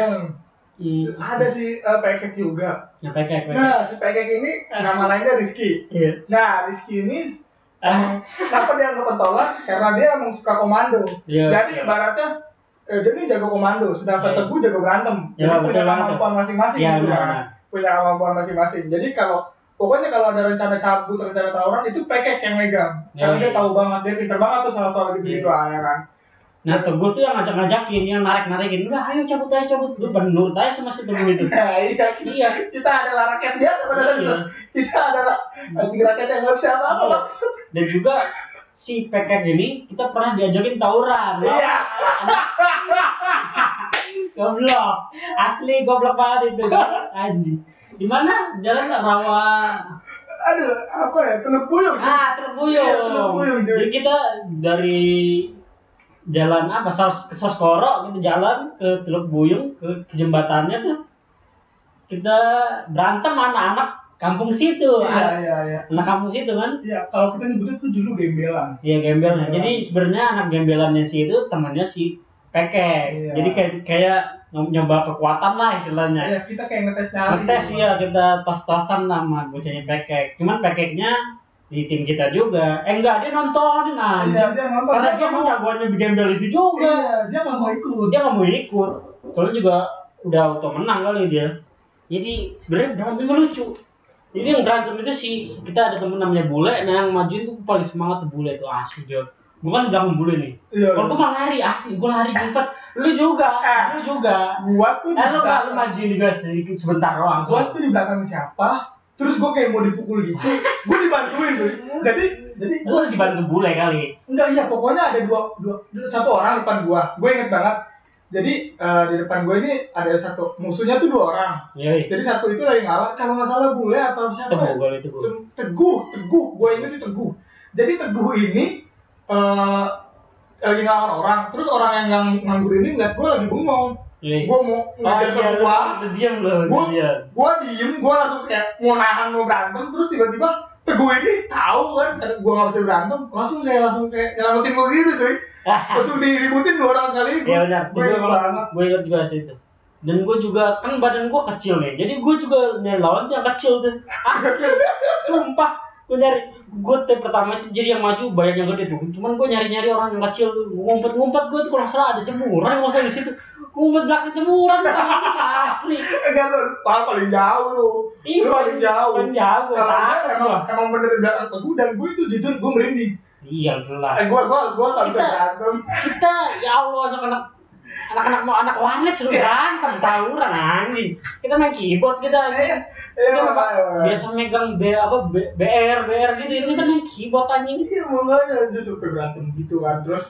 Speaker 1: Em,
Speaker 2: hmm,
Speaker 1: ada si eh, pekek juga
Speaker 2: yang pekek Eh. pekek
Speaker 1: Nah, si Pekek ini nama lainnya Rizky.
Speaker 2: iya
Speaker 1: Nah, Rizky ini
Speaker 2: Ah.
Speaker 1: kenapa dia nggak pentolan? Karena dia emang suka komando.
Speaker 2: Iya.
Speaker 1: Jadi ibaratnya eh, dia ini jago komando, sedangkan
Speaker 2: Iya.
Speaker 1: Teguh jago berantem.
Speaker 2: Iya,
Speaker 1: Jadi punya
Speaker 2: betul banget.
Speaker 1: kemampuan masing-masing
Speaker 2: Iya,
Speaker 1: gitu
Speaker 2: benar,
Speaker 1: kan.
Speaker 2: benar.
Speaker 1: Punya kemampuan masing-masing. Jadi kalau pokoknya kalau ada rencana cabut, rencana tawuran itu Pekek yang megang.
Speaker 2: Iya,
Speaker 1: Karena
Speaker 2: iya.
Speaker 1: dia tahu banget, dia pinter banget tuh soal-soal gitu-gitu ya kan.
Speaker 2: Nah, Teguh tuh yang ngajak-ngajakin, yang narik-narikin. Udah, ayo cabut aja, cabut. Lu penurut aja sama si Teguh itu.
Speaker 1: Nah, iya, kita,
Speaker 2: Iya.
Speaker 1: kita adalah rakyat biasa pada saat itu.
Speaker 2: Iya.
Speaker 1: Kita adalah anjing rakyat yang nggak bisa apa-apa
Speaker 2: Iya.
Speaker 1: maksud.
Speaker 2: Dan juga si Peket ini, kita pernah diajakin tawuran.
Speaker 1: Iya.
Speaker 2: Goblok. Asli goblok banget itu. Anjing. Di mana? Jalan Rawa.
Speaker 1: Aduh, apa ya? Teluk puyuh. cuy.
Speaker 2: Ah,
Speaker 1: Iya, Teluk Puyuh,
Speaker 2: Terbuyung.
Speaker 1: cuy.
Speaker 2: Jadi kita dari jalan apa Sos- ke Soskoro kita jalan ke Teluk Buyung ke, ke jembatannya tuh kita berantem sama anak-anak kampung situ
Speaker 1: Iya, iya, iya.
Speaker 2: anak kampung situ kan
Speaker 1: Iya, kalau kita nyebutnya tuh dulu gembelan.
Speaker 2: iya gembelnya
Speaker 1: Gembelan.
Speaker 2: jadi sebenarnya anak gembelannya si itu temannya si peke
Speaker 1: Iya.
Speaker 2: jadi kayak kayak nyom- nyoba kekuatan lah istilahnya
Speaker 1: Iya, kita kayak ngetes nyali.
Speaker 2: ngetes ya kita pas-pasan sama bocahnya pekek cuman pekeknya di tim kita juga eh enggak dia nontonin
Speaker 1: Iya,
Speaker 2: aja
Speaker 1: dia nonton.
Speaker 2: karena
Speaker 1: Dia
Speaker 2: dia
Speaker 1: mau
Speaker 2: mau jagoannya di gembel itu juga
Speaker 1: Iya, dia nggak mau ikut.
Speaker 2: dia nggak mau ikut soalnya juga udah auto menang kali dia jadi sebenarnya berantemnya lucu jadi yang berantem itu sih kita ada temen namanya bule nah yang majuin tuh paling semangat tuh bule tuh asli dia bukan bilang bule nih
Speaker 1: Iya. Ah.
Speaker 2: kalau gue malah lari asli gue lari cepet lu juga lu juga
Speaker 1: Gua tuh di
Speaker 2: eh lu nggak lu
Speaker 1: belakang-
Speaker 2: majuin juga sedikit sebentar doang
Speaker 1: gua tuh di belakang siapa? Terus gua kayak mau dipukul gitu. gua dibantuin tuh.
Speaker 2: Iya.
Speaker 1: Jadi jadi
Speaker 2: lu harus dibantu bule kali
Speaker 1: Enggak iya pokoknya ada dua, dua satu orang depan gua. Gue inget banget. Jadi eh, di depan gue ini ada satu musuhnya tuh dua orang.
Speaker 2: iya
Speaker 1: Jadi satu itu lagi ngalahin kalau nggak salah bule atau siapa?
Speaker 2: teguh
Speaker 1: ya?
Speaker 2: gue itu gue
Speaker 1: Tem- Teguh, teguh. Gue inget sih teguh. Jadi teguh ini eh lagi ngelawan orang. Terus orang yang ngang- nganggur ini ngeliat gue lagi bengong.
Speaker 2: iya
Speaker 1: Gue mau ngejar ke gua.
Speaker 2: lu iya, diam lu lu
Speaker 1: Gue
Speaker 2: diam
Speaker 1: gue diem. Gue langsung kayak mau nahan mau berantem. Terus tiba-tiba teguh ini tahu kan gue nggak bisa berantem. Langsung kayak langsung kayak nyelamatin gue gitu cuy. Langsung diributin dua orang sekaligus.
Speaker 2: Ah. Iya benar.
Speaker 1: Gue
Speaker 2: Gue
Speaker 1: inget banget.
Speaker 2: gue ingat juga sih itu. Dan gue juga kan badan gue kecil nih, jadi gue juga nyari lawan tuh yang kecil tuh. Asli, sumpah. Gue nyari gue tuh pertama itu jadi yang maju banyak yang gede tuh. Cuman gue nyari nyari orang yang kecil tuh. Ngumpet ngumpet gue tuh kalau nggak salah ada jemuran kalau nggak salah di situ. Ngumpet belakang jemuran asli.
Speaker 1: Enggak lu, pal paling jauh lu.
Speaker 2: Ih,
Speaker 1: Lu paling jauh.
Speaker 2: Iya, Paling jauh gue
Speaker 1: Kalau enggak,
Speaker 2: takut
Speaker 1: emang
Speaker 2: gue.
Speaker 1: emang bener di belakang teguh dan gue itu jujur gue merinding.
Speaker 2: Iya jelas.
Speaker 1: Eh, gua gua gua nggak bisa
Speaker 2: Kita-
Speaker 1: berantem. Iya,
Speaker 2: kita ya Allah anak-anak anak-anak mau anak warnet seru berantem tawuran anjing kita main keyboard kita
Speaker 1: Iya,
Speaker 2: anjing
Speaker 1: iya,
Speaker 2: Kita
Speaker 1: makanya,
Speaker 2: apa-
Speaker 1: makanya.
Speaker 2: biasa megang B, apa B- BR BR gitu ini kita main keyboard anjing
Speaker 1: Iya, makanya jujur gue berantem gitu kan. Terus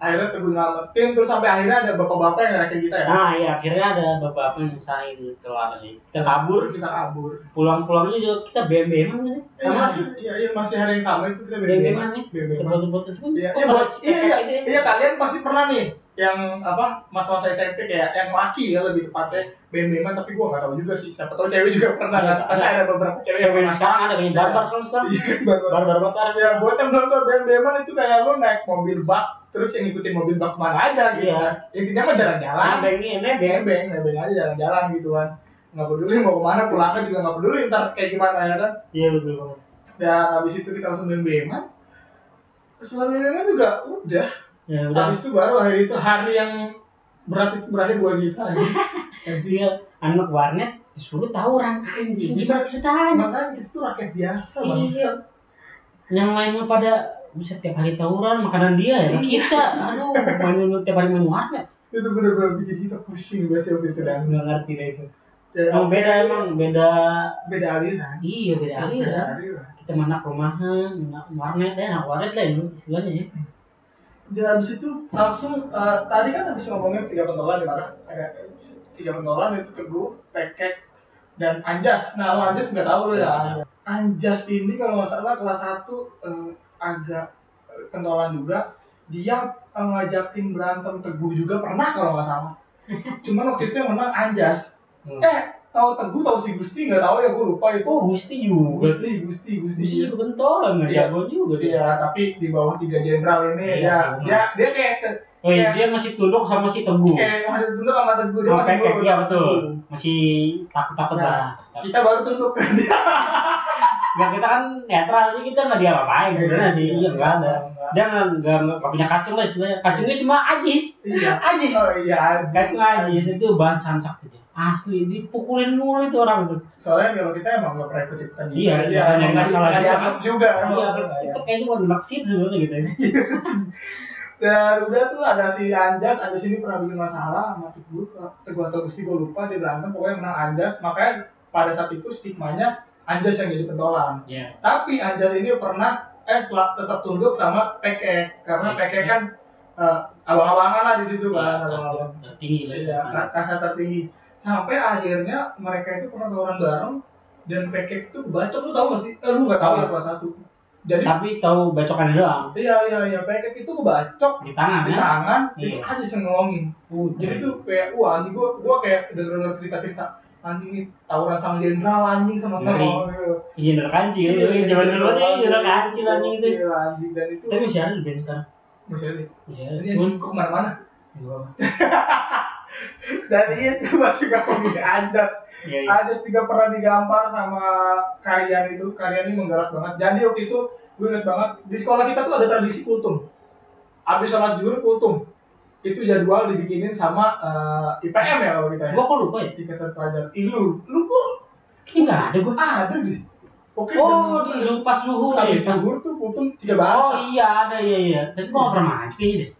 Speaker 1: akhirnya teguh ngamatin terus sampai akhirnya ada bapak-bapak yang ngerakin kita ya.
Speaker 2: nah ya akhirnya ada bapak-bapak yang misalnya keluar sih kita kabur
Speaker 1: Terus kita kabur.
Speaker 2: pulang-pulangnya juga kita BM-BM gitu
Speaker 1: Iya,
Speaker 2: sama sih
Speaker 1: masih iya, iya, masih hari yang sama itu kita
Speaker 2: BM-BM nih
Speaker 1: BM-BM.
Speaker 2: terbuat-buat ya. itu kan
Speaker 1: Iya,
Speaker 2: kok
Speaker 1: iya,
Speaker 2: malah
Speaker 1: buat,
Speaker 2: si
Speaker 1: iya, iya,
Speaker 2: kakek itu ya?
Speaker 1: iya, kalian pasti pernah nih yang apa masa-masa SMP kayak yang laki ya lebih tepatnya band-bandan tapi gua nggak tahu juga sih siapa tahu cewek juga pernah
Speaker 2: Ada,
Speaker 1: kan pasti
Speaker 2: ada.
Speaker 1: ada beberapa cewek yang
Speaker 2: Cewek
Speaker 1: pernah
Speaker 2: kan
Speaker 1: Iya,
Speaker 2: sekarang ada kayaknya barbar sekarang sekarang. Iya, Barbar banget kan.
Speaker 1: ya buat yang belum tau band-bandan itu kayak lo naik mobil bak terus yang ngikutin mobil bak kemana aja gitu
Speaker 2: Iya.
Speaker 1: kan intinya mah jalan-jalan
Speaker 2: Nebengin, nebeng.
Speaker 1: nebeng nebeng aja jalan-jalan gitu kan nggak peduli mau kemana pulangnya juga nggak peduli ntar kayak gimana ya kan
Speaker 2: Iya betul banget.
Speaker 1: dan habis itu kita langsung band-bandan setelah band-bandan juga udah
Speaker 2: Ya udah.
Speaker 1: habis itu baru hari itu hari yang berat itu berakhir buat kita
Speaker 2: Dia ya, anak warnet disuruh tawuran anjing gimana ceritanya?
Speaker 1: makanya kita tuh rakyat biasa
Speaker 2: Iya.
Speaker 1: bangsa
Speaker 2: yang lain mah pada bisa tiap hari tawuran makanan dia ya
Speaker 1: Iya.
Speaker 2: kita aduh main tiap hari main warnet
Speaker 1: itu bener-bener bikin kita pusing banget sih waktu itu dan
Speaker 2: nggak ngerti deh itu
Speaker 1: dan
Speaker 2: emang beda emang beda
Speaker 1: beda aliran
Speaker 2: iya beda
Speaker 1: beda
Speaker 2: aliran
Speaker 1: aliran
Speaker 2: kita mah anak rumahan anak warnet ya anak warnet lah itu istilahnya
Speaker 1: Eh.
Speaker 2: ya
Speaker 1: dan habis itu langsung eh, tadi kan habis ngomongin tiga pentolan di mana ada tiga pentolan itu teguh pekek dan anjas nah lo anjas nggak tahu lo ya anjas ini kalau nggak salah kelas satu eh, agak eh, pentolan juga dia eh, ngajakin berantem teguh juga pernah kalau nggak salah cuman waktu itu yang menang anjas
Speaker 2: Hmm.
Speaker 1: eh tahu teguh tahu si gusti nggak tahu ya gue lupa itu
Speaker 2: oh gusti juga
Speaker 1: gusti gusti gusti,
Speaker 2: gusti juga bentolan nggak
Speaker 1: Iya.
Speaker 2: jago juga dia
Speaker 1: Iya, tapi di bawah tiga jenderal ini
Speaker 2: Iya,
Speaker 1: ya,
Speaker 2: sama.
Speaker 1: dia dia kayak
Speaker 2: oh
Speaker 1: kayak-
Speaker 2: iya, dia masih tunduk sama si teguh
Speaker 1: kayak masih tunduk sama Iya, teguh dia
Speaker 2: sama
Speaker 1: masih
Speaker 2: pekek
Speaker 1: nurut.
Speaker 2: iya betul masih takut takut
Speaker 1: Nah,
Speaker 2: lah
Speaker 1: kita baru tunduk ke dia
Speaker 2: nggak kita kan netral jadi kita nggak dia apa-apain sebenarnya sih iya nggak ada dia nggak nggak nggak punya kacung lah istilahnya kacungnya cuma ajis
Speaker 1: iya
Speaker 2: ajis
Speaker 1: oh iya
Speaker 2: kacung ajis itu bahan samsak gitu asli dipukulin mulu itu orang itu
Speaker 1: soalnya kalau kita emang nggak pernah ikut ikutan
Speaker 2: Iya, iya,
Speaker 1: emang
Speaker 2: nggak salah
Speaker 1: nggak
Speaker 2: juga.
Speaker 1: dianggap juga emang
Speaker 2: iya
Speaker 1: nggak
Speaker 2: kita
Speaker 1: dianggap.
Speaker 2: kayaknya bukan maksid sebenarnya gitu ya
Speaker 1: dan udah tuh ada si Anjas Anjas ini pernah bikin masalah sama teguh teguh atau gusti gue lupa dia berantem pokoknya menang Anjas makanya pada saat itu stigmanya Anjas yang jadi pentolan
Speaker 2: iya
Speaker 1: tapi Anjas ini pernah eh setelah tetap tunduk sama PK karena PK kan eh, abang-abangan lah di situ kan abang-abangan
Speaker 2: Pasti, tinggi lah ya.
Speaker 1: Iya, ka- kasta tertinggi. Sampai akhirnya mereka itu pernah tawuran bareng dan PK itu kebacok lu tau gak sih? Eh, lu gak tau ya kelas satu. Jadi
Speaker 2: tapi tahu bacokannya doang
Speaker 1: iya iya iya PK itu kebacok
Speaker 2: di tangan
Speaker 1: di
Speaker 2: ya
Speaker 1: tangan
Speaker 2: Iya.
Speaker 1: itu aja yang ngomongin.
Speaker 2: Uh,
Speaker 1: Jadi tuh kayak wah anjing gua gua kayak denger cerita cerita anjing ini tawuran sama jenderal anjing sama Iya. sama.
Speaker 2: izin dari Iya, kancil zaman dulu iya, nih izin dari kancil anjing itu
Speaker 1: Iya, anjing dan itu.
Speaker 2: gitu. tapi masih ada di band sekarang
Speaker 1: Maksudnya,
Speaker 2: masih ada
Speaker 1: ini
Speaker 2: cuman
Speaker 1: anjing kok kemana-mana.
Speaker 2: nggak apa-apa.
Speaker 1: Dan itu masih gak punya anjas.
Speaker 2: iya iya
Speaker 1: Ada juga pernah digambar sama karyan itu, karyan ini menggalak banget. Jadi waktu itu gue inget banget di sekolah kita tuh ada tradisi kultum. Abis sholat zuhur kultum. Itu jadwal dibikinin sama eh, IPM ya kalau kita ya.
Speaker 2: gua kok lupa ya
Speaker 1: Ikatan pelajar. Ih, lu, lu kok
Speaker 2: kayaknya nggak ada gua
Speaker 1: ada deh. Oke.
Speaker 2: oh di pas suhu
Speaker 1: Abis
Speaker 2: deh pas
Speaker 1: zuhur tuh kultum tiga
Speaker 2: Oh
Speaker 1: bahasa.
Speaker 2: iya ada iya iya. Tapi gua nggak pernah maju kayaknya deh.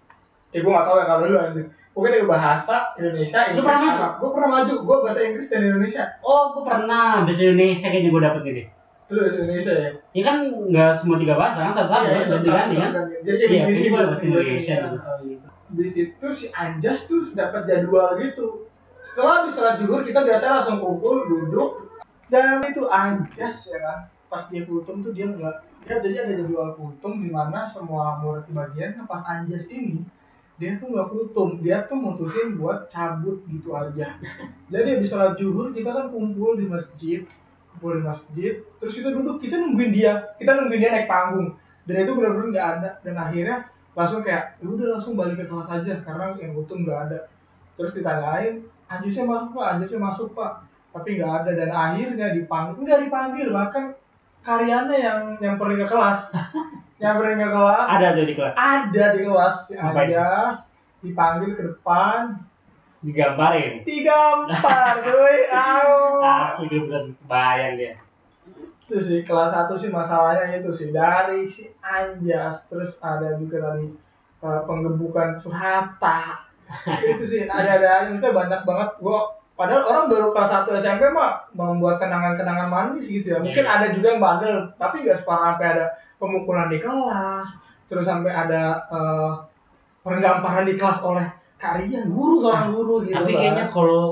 Speaker 1: Eh gue gak tau ya kalau lu anjir. Pokoknya tiga bahasa Indonesia,
Speaker 2: Lu
Speaker 1: Inggris,
Speaker 2: pernah maju?
Speaker 1: Arab. Gue pernah maju. Gue bahasa Inggris dan Indonesia.
Speaker 2: Oh gua pernah bahasa Indonesia kayaknya gua dapet gitu.
Speaker 1: Lu bahasa Indonesia ya.
Speaker 2: Ya kan nggak semua tiga bahasa kan satu-satu ya,
Speaker 1: Iya,
Speaker 2: ganti ganti kan.
Speaker 1: Jadi
Speaker 2: Iya,
Speaker 1: gini,
Speaker 2: jadi
Speaker 1: gini,
Speaker 2: gua bahasa
Speaker 1: gini,
Speaker 2: Indonesia
Speaker 1: gini.
Speaker 2: gitu.
Speaker 1: Di situ iya. si Anjas tuh dapat jadwal gitu. Setelah habis sholat zuhur kita biasa langsung kumpul duduk dan itu Anjas ya kan. Pas dia putum tuh dia nggak dia jadi ada jadwal putum di mana semua murid bagian nah, pas Anjas ini dia tuh nggak putum dia tuh mutusin buat cabut gitu aja jadi habis sholat zuhur kita kan kumpul di masjid kumpul di masjid terus kita duduk kita nungguin dia kita nungguin dia naik panggung dan itu benar-benar nggak ada dan akhirnya langsung kayak "Ya udah langsung balik ke kelas aja karena yang utuh nggak ada terus ditanyain anjisnya masuk pak anjisnya masuk pak tapi nggak ada dan akhirnya dipanggil nggak dipanggil bahkan karyanya yang yang pergi ke kelas yang pergi ke kelas
Speaker 2: Ada tuh di kelas.
Speaker 1: ada di kelas si
Speaker 2: Apa itu?
Speaker 1: Anjas dipanggil ke depan
Speaker 2: Digambarin.
Speaker 1: digampar cuy au
Speaker 2: Asli gue bener bayang dia.
Speaker 1: Nah, itu sih kelas 1 sih masalahnya itu sih dari si Anjas terus ada juga tadi eh, penggebukan Suhata itu sih ada ada aja maksudnya banyak banget gua padahal orang baru kelas 1 SMP mah membuat kenangan-kenangan manis gitu ya mungkin
Speaker 2: Iya.
Speaker 1: ada juga yang bandel tapi nggak separah sampai ada pemukulan di kelas terus sampai ada eh, penggamparan di kelas oleh karya guru seorang guru gitu
Speaker 2: Tapi
Speaker 1: kan.
Speaker 2: kayaknya kalau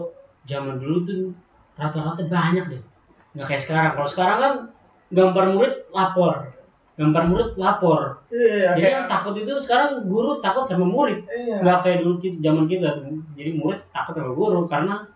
Speaker 2: zaman dulu tuh rata-rata banyak deh. Nggak kayak sekarang. Kalau sekarang kan gambar murid lapor. lempar murid lapor
Speaker 1: Iya,
Speaker 2: jadi
Speaker 1: kayak
Speaker 2: yang takut itu sekarang guru takut sama murid
Speaker 1: iya.
Speaker 2: nggak kayak dulu ki- zaman kita tuh jadi murid takut sama guru karena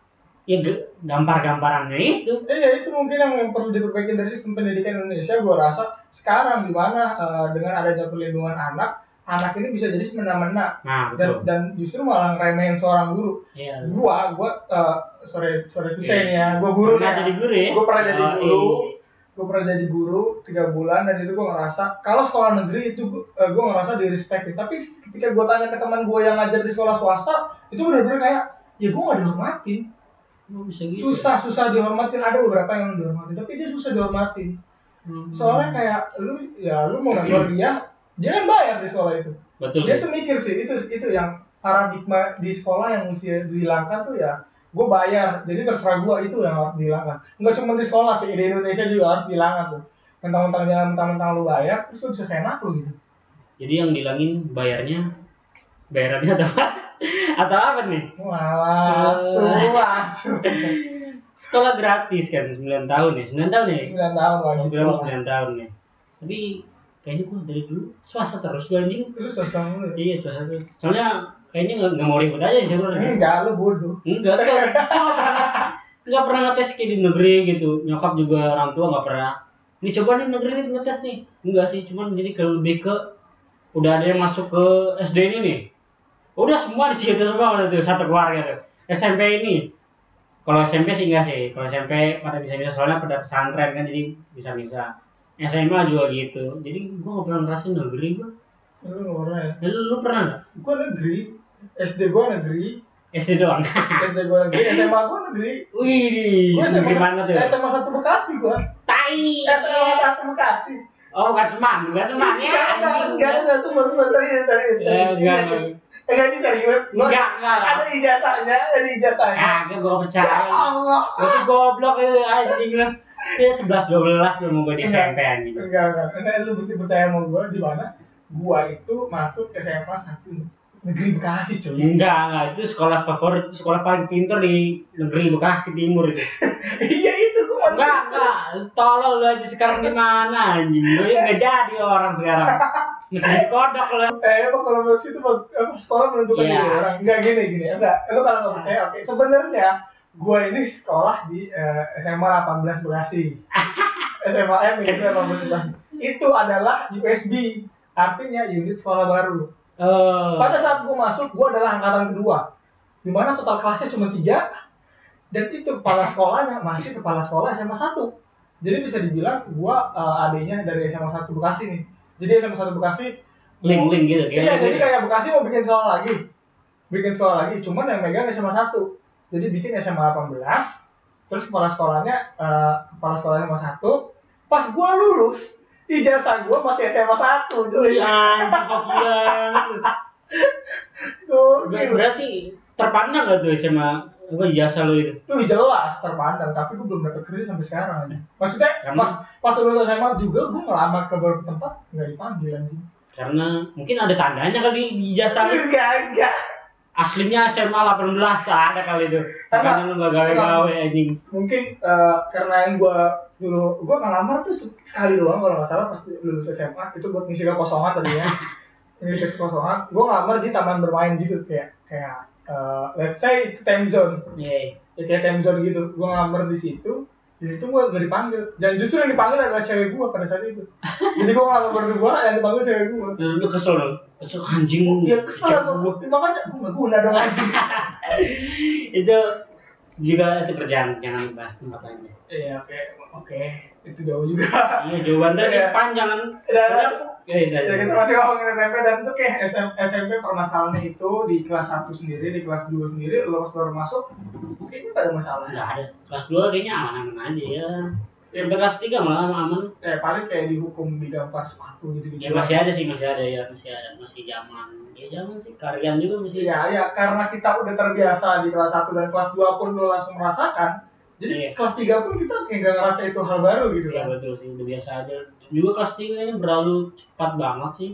Speaker 2: ya ge- gampar-gamparannya itu
Speaker 1: Iya itu mungkin yang yang perlu diperbaiki dari sistem pendidikan Indonesia. Gue rasa sekarang di mana eh, dengan adanya perlindungan anak, anak ini bisa jadi semena-mena
Speaker 2: nah
Speaker 1: dan
Speaker 2: betul
Speaker 1: dan justru malah ngeremehin seorang guru.
Speaker 2: iya
Speaker 1: Gua, gua eh, sorry sorry tuh
Speaker 2: Iya.
Speaker 1: saya nih ya, gua guru
Speaker 2: pernah jadi
Speaker 1: nih.
Speaker 2: guru ya
Speaker 1: Gua pernah jadi
Speaker 2: Oh,
Speaker 1: guru.
Speaker 2: iya.
Speaker 1: Gue pernah jadi guru tiga bulan dan itu gue ngerasa kalau sekolah negeri itu gue ngerasa di respect tapi ketika gue tanya ke teman gue yang ngajar di sekolah swasta itu benar-benar kayak ya gue nggak dihormatin
Speaker 2: Oh, bisa gitu
Speaker 1: susah susah dihormatin ada beberapa yang dihormatin tapi dia susah dihormatin
Speaker 2: Hmm.
Speaker 1: soalnya kayak lu ya lu mau ngeluar dia dia kan bayar di sekolah itu
Speaker 2: betul
Speaker 1: dia tuh mikir sih itu itu yang paradigma di sekolah yang mesti dihilangkan tuh ya gue bayar jadi terserah gue itu yang harus dihilangkan nggak cuma di sekolah sih di Indonesia juga harus dihilangkan tuh mentang-mentang jangan mentang-mentang lu bayar terus lu bisa senak lu gitu
Speaker 2: jadi yang dilangin bayarnya bayarannya atau apa atau apa nih
Speaker 1: wah
Speaker 2: Eh.
Speaker 1: asu asu
Speaker 2: sekolah gratis kan 9 tahun ya 9 tahun ya
Speaker 1: sembilan tahun lagi
Speaker 2: program 9 tahun ya tapi kayaknya gua dari dulu swasta terus gua anjing
Speaker 1: terus terus lu
Speaker 2: iya swasta terus soalnya kayaknya nggak nggak mau ribut aja sih sebenarnya
Speaker 1: enggak lu bodoh
Speaker 2: enggak tuh Gua pernah nggak pernah ngetes kayak di negeri gitu nyokap juga orang tua nggak pernah ini coba nih negeri nih ngetes nih enggak sih cuman jadi ke lebih ke udah ada yang masuk ke SD ini nih udah semua di situ semua udah tuh satu keluarga tuh SMP ini kalau SMP sih enggak sih kalau SMP pada bisa bisa soalnya pada pesantren kan jadi bisa bisa SMA juga gitu jadi gua nggak pernah ngerasain negeri gua
Speaker 1: lu nggak pernah ya
Speaker 2: Eh, lu, lu pernah nggak
Speaker 1: gue negeri SD gue negeri
Speaker 2: SD doang
Speaker 1: SD gue negeri SMA gue negeri
Speaker 2: wih
Speaker 1: gue SMA
Speaker 2: gimana tuh
Speaker 1: SMA satu Bekasi gue
Speaker 2: tai
Speaker 1: SMA satu Bekasi
Speaker 2: Oh, bukan seman, bukan seman ya.
Speaker 1: enggak enggak enggak enggak tuh baru baru serius serius
Speaker 2: Eh,
Speaker 1: serius.
Speaker 2: enggak,
Speaker 1: Serius. enggak ini serius Gua-
Speaker 2: Enggak, enggak.
Speaker 1: ada ijazahnya ada ijazahnya
Speaker 2: Kagak Ah, gua percaya.
Speaker 1: ya Allah
Speaker 2: Itu goblok itu anjing lu. Ya 11 12 tuh mau gua di SMP anjing.
Speaker 1: enggak enggak enggak lu mesti percaya sama gue di mana gue itu masuk SMA satu negeri Bekasi cuy
Speaker 2: Enggak, enggak. Itu sekolah favorit, itu sekolah paling pintar di negeri Bekasi Timur itu.
Speaker 1: iya itu gue masuk
Speaker 2: Enggak, enggak. Tolol lu aja sekarang di mana anjing? Lu enggak jadi orang sekarang. Mesti dikodok lu.
Speaker 1: Eh, emang kalau menurut situ mas- eh, sekolah menentukan
Speaker 2: Iya.
Speaker 1: diri orang. Enggak gini gini. Enggak, lu kalau nggak percaya oke. Sebenarnya gue ini sekolah di eh, SMA 18 Bekasi. SMA M itu 18 Bekasi. Itu adalah USB. Artinya unit sekolah baru.
Speaker 2: Eh.
Speaker 1: Pada saat gue masuk, gue adalah angkatan kedua. Dimana total kelasnya cuma tiga. Dan itu kepala sekolahnya masih kepala sekolah SMA 1. Jadi bisa dibilang gue adanya dari SMA 1 Bekasi nih. Jadi SMA 1 Bekasi
Speaker 2: Link-link gitu kayak
Speaker 1: Iya,
Speaker 2: gitu.
Speaker 1: jadi kayak Bekasi mau bikin sekolah lagi. Bikin sekolah lagi, cuman yang megang SMA 1. Jadi bikin SMA 18, terus kepala sekolahnya eh, kepala sekolahnya SMA 1. Pas gua lulus, ijazah gua masih SMA 1, cuy.
Speaker 2: Iya, anjing gila lu. Ber-
Speaker 1: Gokil.
Speaker 2: Iya, berarti terpandang gak tuh sama apa jasa lo itu
Speaker 1: Tuh jelas terpandang, tapi gua belum dapet kerja sampai sekarang aja. Maksudnya
Speaker 2: Karena-
Speaker 1: pas pas lulus SMA juga gua ngelamar ke beberapa tempat nggak dipanggil anjing.
Speaker 2: karena mungkin ada tandanya kali di jasa lo
Speaker 1: Enggak, enggak.
Speaker 2: aslinya SMA 18 ada kali itu makanya lu gak gawe-gawe
Speaker 1: Iya.
Speaker 2: anjing
Speaker 1: mungkin eh, karena yang gue dulu gue ngelamar tuh se- sekali doang kalau nggak salah pas lulus SMA itu buat ngisi kekosongan tadinya ngisi kekosongan gue ngelamar di taman bermain gitu kayak kayak eh, let's say itu time zone
Speaker 2: Iya.
Speaker 1: ya, kayak time zone gitu gue ngelamar di situ di situ gue gak dipanggil dan justru yang dipanggil adalah cewek gue pada saat itu jadi gue ngelamar berdua yang dipanggil cewek gue
Speaker 2: lu lu kesel dong kesel anjing lu
Speaker 1: ya kesel
Speaker 2: Gua-
Speaker 1: gue makanya gue nggak guna dong anjing
Speaker 2: itu juga itu kerjaan jangan bahas tempat lain
Speaker 1: iya oke oke itu jauh juga
Speaker 2: iya jawaban tadi
Speaker 1: Iya.
Speaker 2: panjang kan
Speaker 1: Iya.
Speaker 2: Iya, iya,
Speaker 1: Ya kita
Speaker 2: iya.
Speaker 1: masih ngomongin SMP dan itu kayak SM- SMP permasalahannya itu di kelas 1 sendiri, di kelas 2 sendiri, lo pas baru masuk kayaknya gak ada masalah.
Speaker 2: nggak ada kelas 2 kayaknya aman-aman aja ya Sampai kelas 3 malah aman
Speaker 1: Eh paling kayak dihukum di gambar sepatu gitu gitu.
Speaker 2: Ya masih ada sih, masih ada ya, masih ada, masih zaman. Ya zaman sih, karyan juga masih.
Speaker 1: Iya, ya karena kita udah terbiasa di kelas 1 dan kelas 2 pun lo langsung merasakan. Jadi
Speaker 2: Iya.
Speaker 1: kelas 3 pun kita kayak gak ngerasa itu hal baru gitu
Speaker 2: Ya
Speaker 1: kan.
Speaker 2: betul sih, udah biasa aja. Juga kelas 3 kayaknya berlalu cepat banget sih.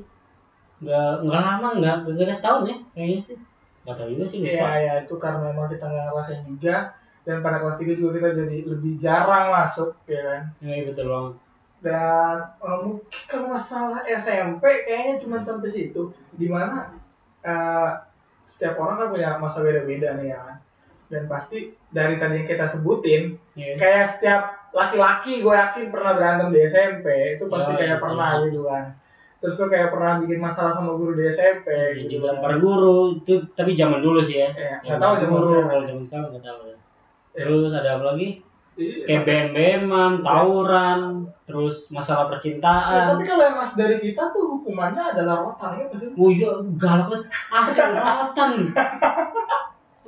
Speaker 2: Nggak, nggak lama, nggak, nggak ada setahun ya kayaknya sih. Nggak tahu juga sih,
Speaker 1: Iya,
Speaker 2: lupa.
Speaker 1: ya itu karena memang kita gak ngerasain juga dan pada kelas 3 juga kita jadi lebih jarang masuk ya kan.
Speaker 2: Iya, betul banget.
Speaker 1: dan eh, mungkin kalau masalah SMP kayaknya cuma sampai situ dimana eh, setiap orang kan punya masa beda-beda nih ya kan. dan pasti dari tadi yang kita sebutin
Speaker 2: Iya.
Speaker 1: kayak setiap laki-laki gue yakin pernah berantem di SMP itu pasti
Speaker 2: Ya,
Speaker 1: kayak
Speaker 2: iya,
Speaker 1: pernah
Speaker 2: iya.
Speaker 1: gitu kan terus tuh kayak pernah bikin masalah sama guru di SMP
Speaker 2: Jadi
Speaker 1: gitu
Speaker 2: Dilempar guru itu tapi zaman dulu sih ya.
Speaker 1: Iya,
Speaker 2: Yang
Speaker 1: nggak tahu zaman Iya.
Speaker 2: guru,
Speaker 1: sekarang.
Speaker 2: Kalau zaman sekarang nggak tahu. ya. Terus ada apa lagi?
Speaker 1: Iya.
Speaker 2: Kayak bem-beman, tawuran, terus
Speaker 1: Ya,
Speaker 2: masalah
Speaker 1: tapi
Speaker 2: percintaan.
Speaker 1: kalau yang mas dari kita tuh hukumannya adalah rotan ya maksudnya
Speaker 2: Oh iya, galak banget. Asal rotan.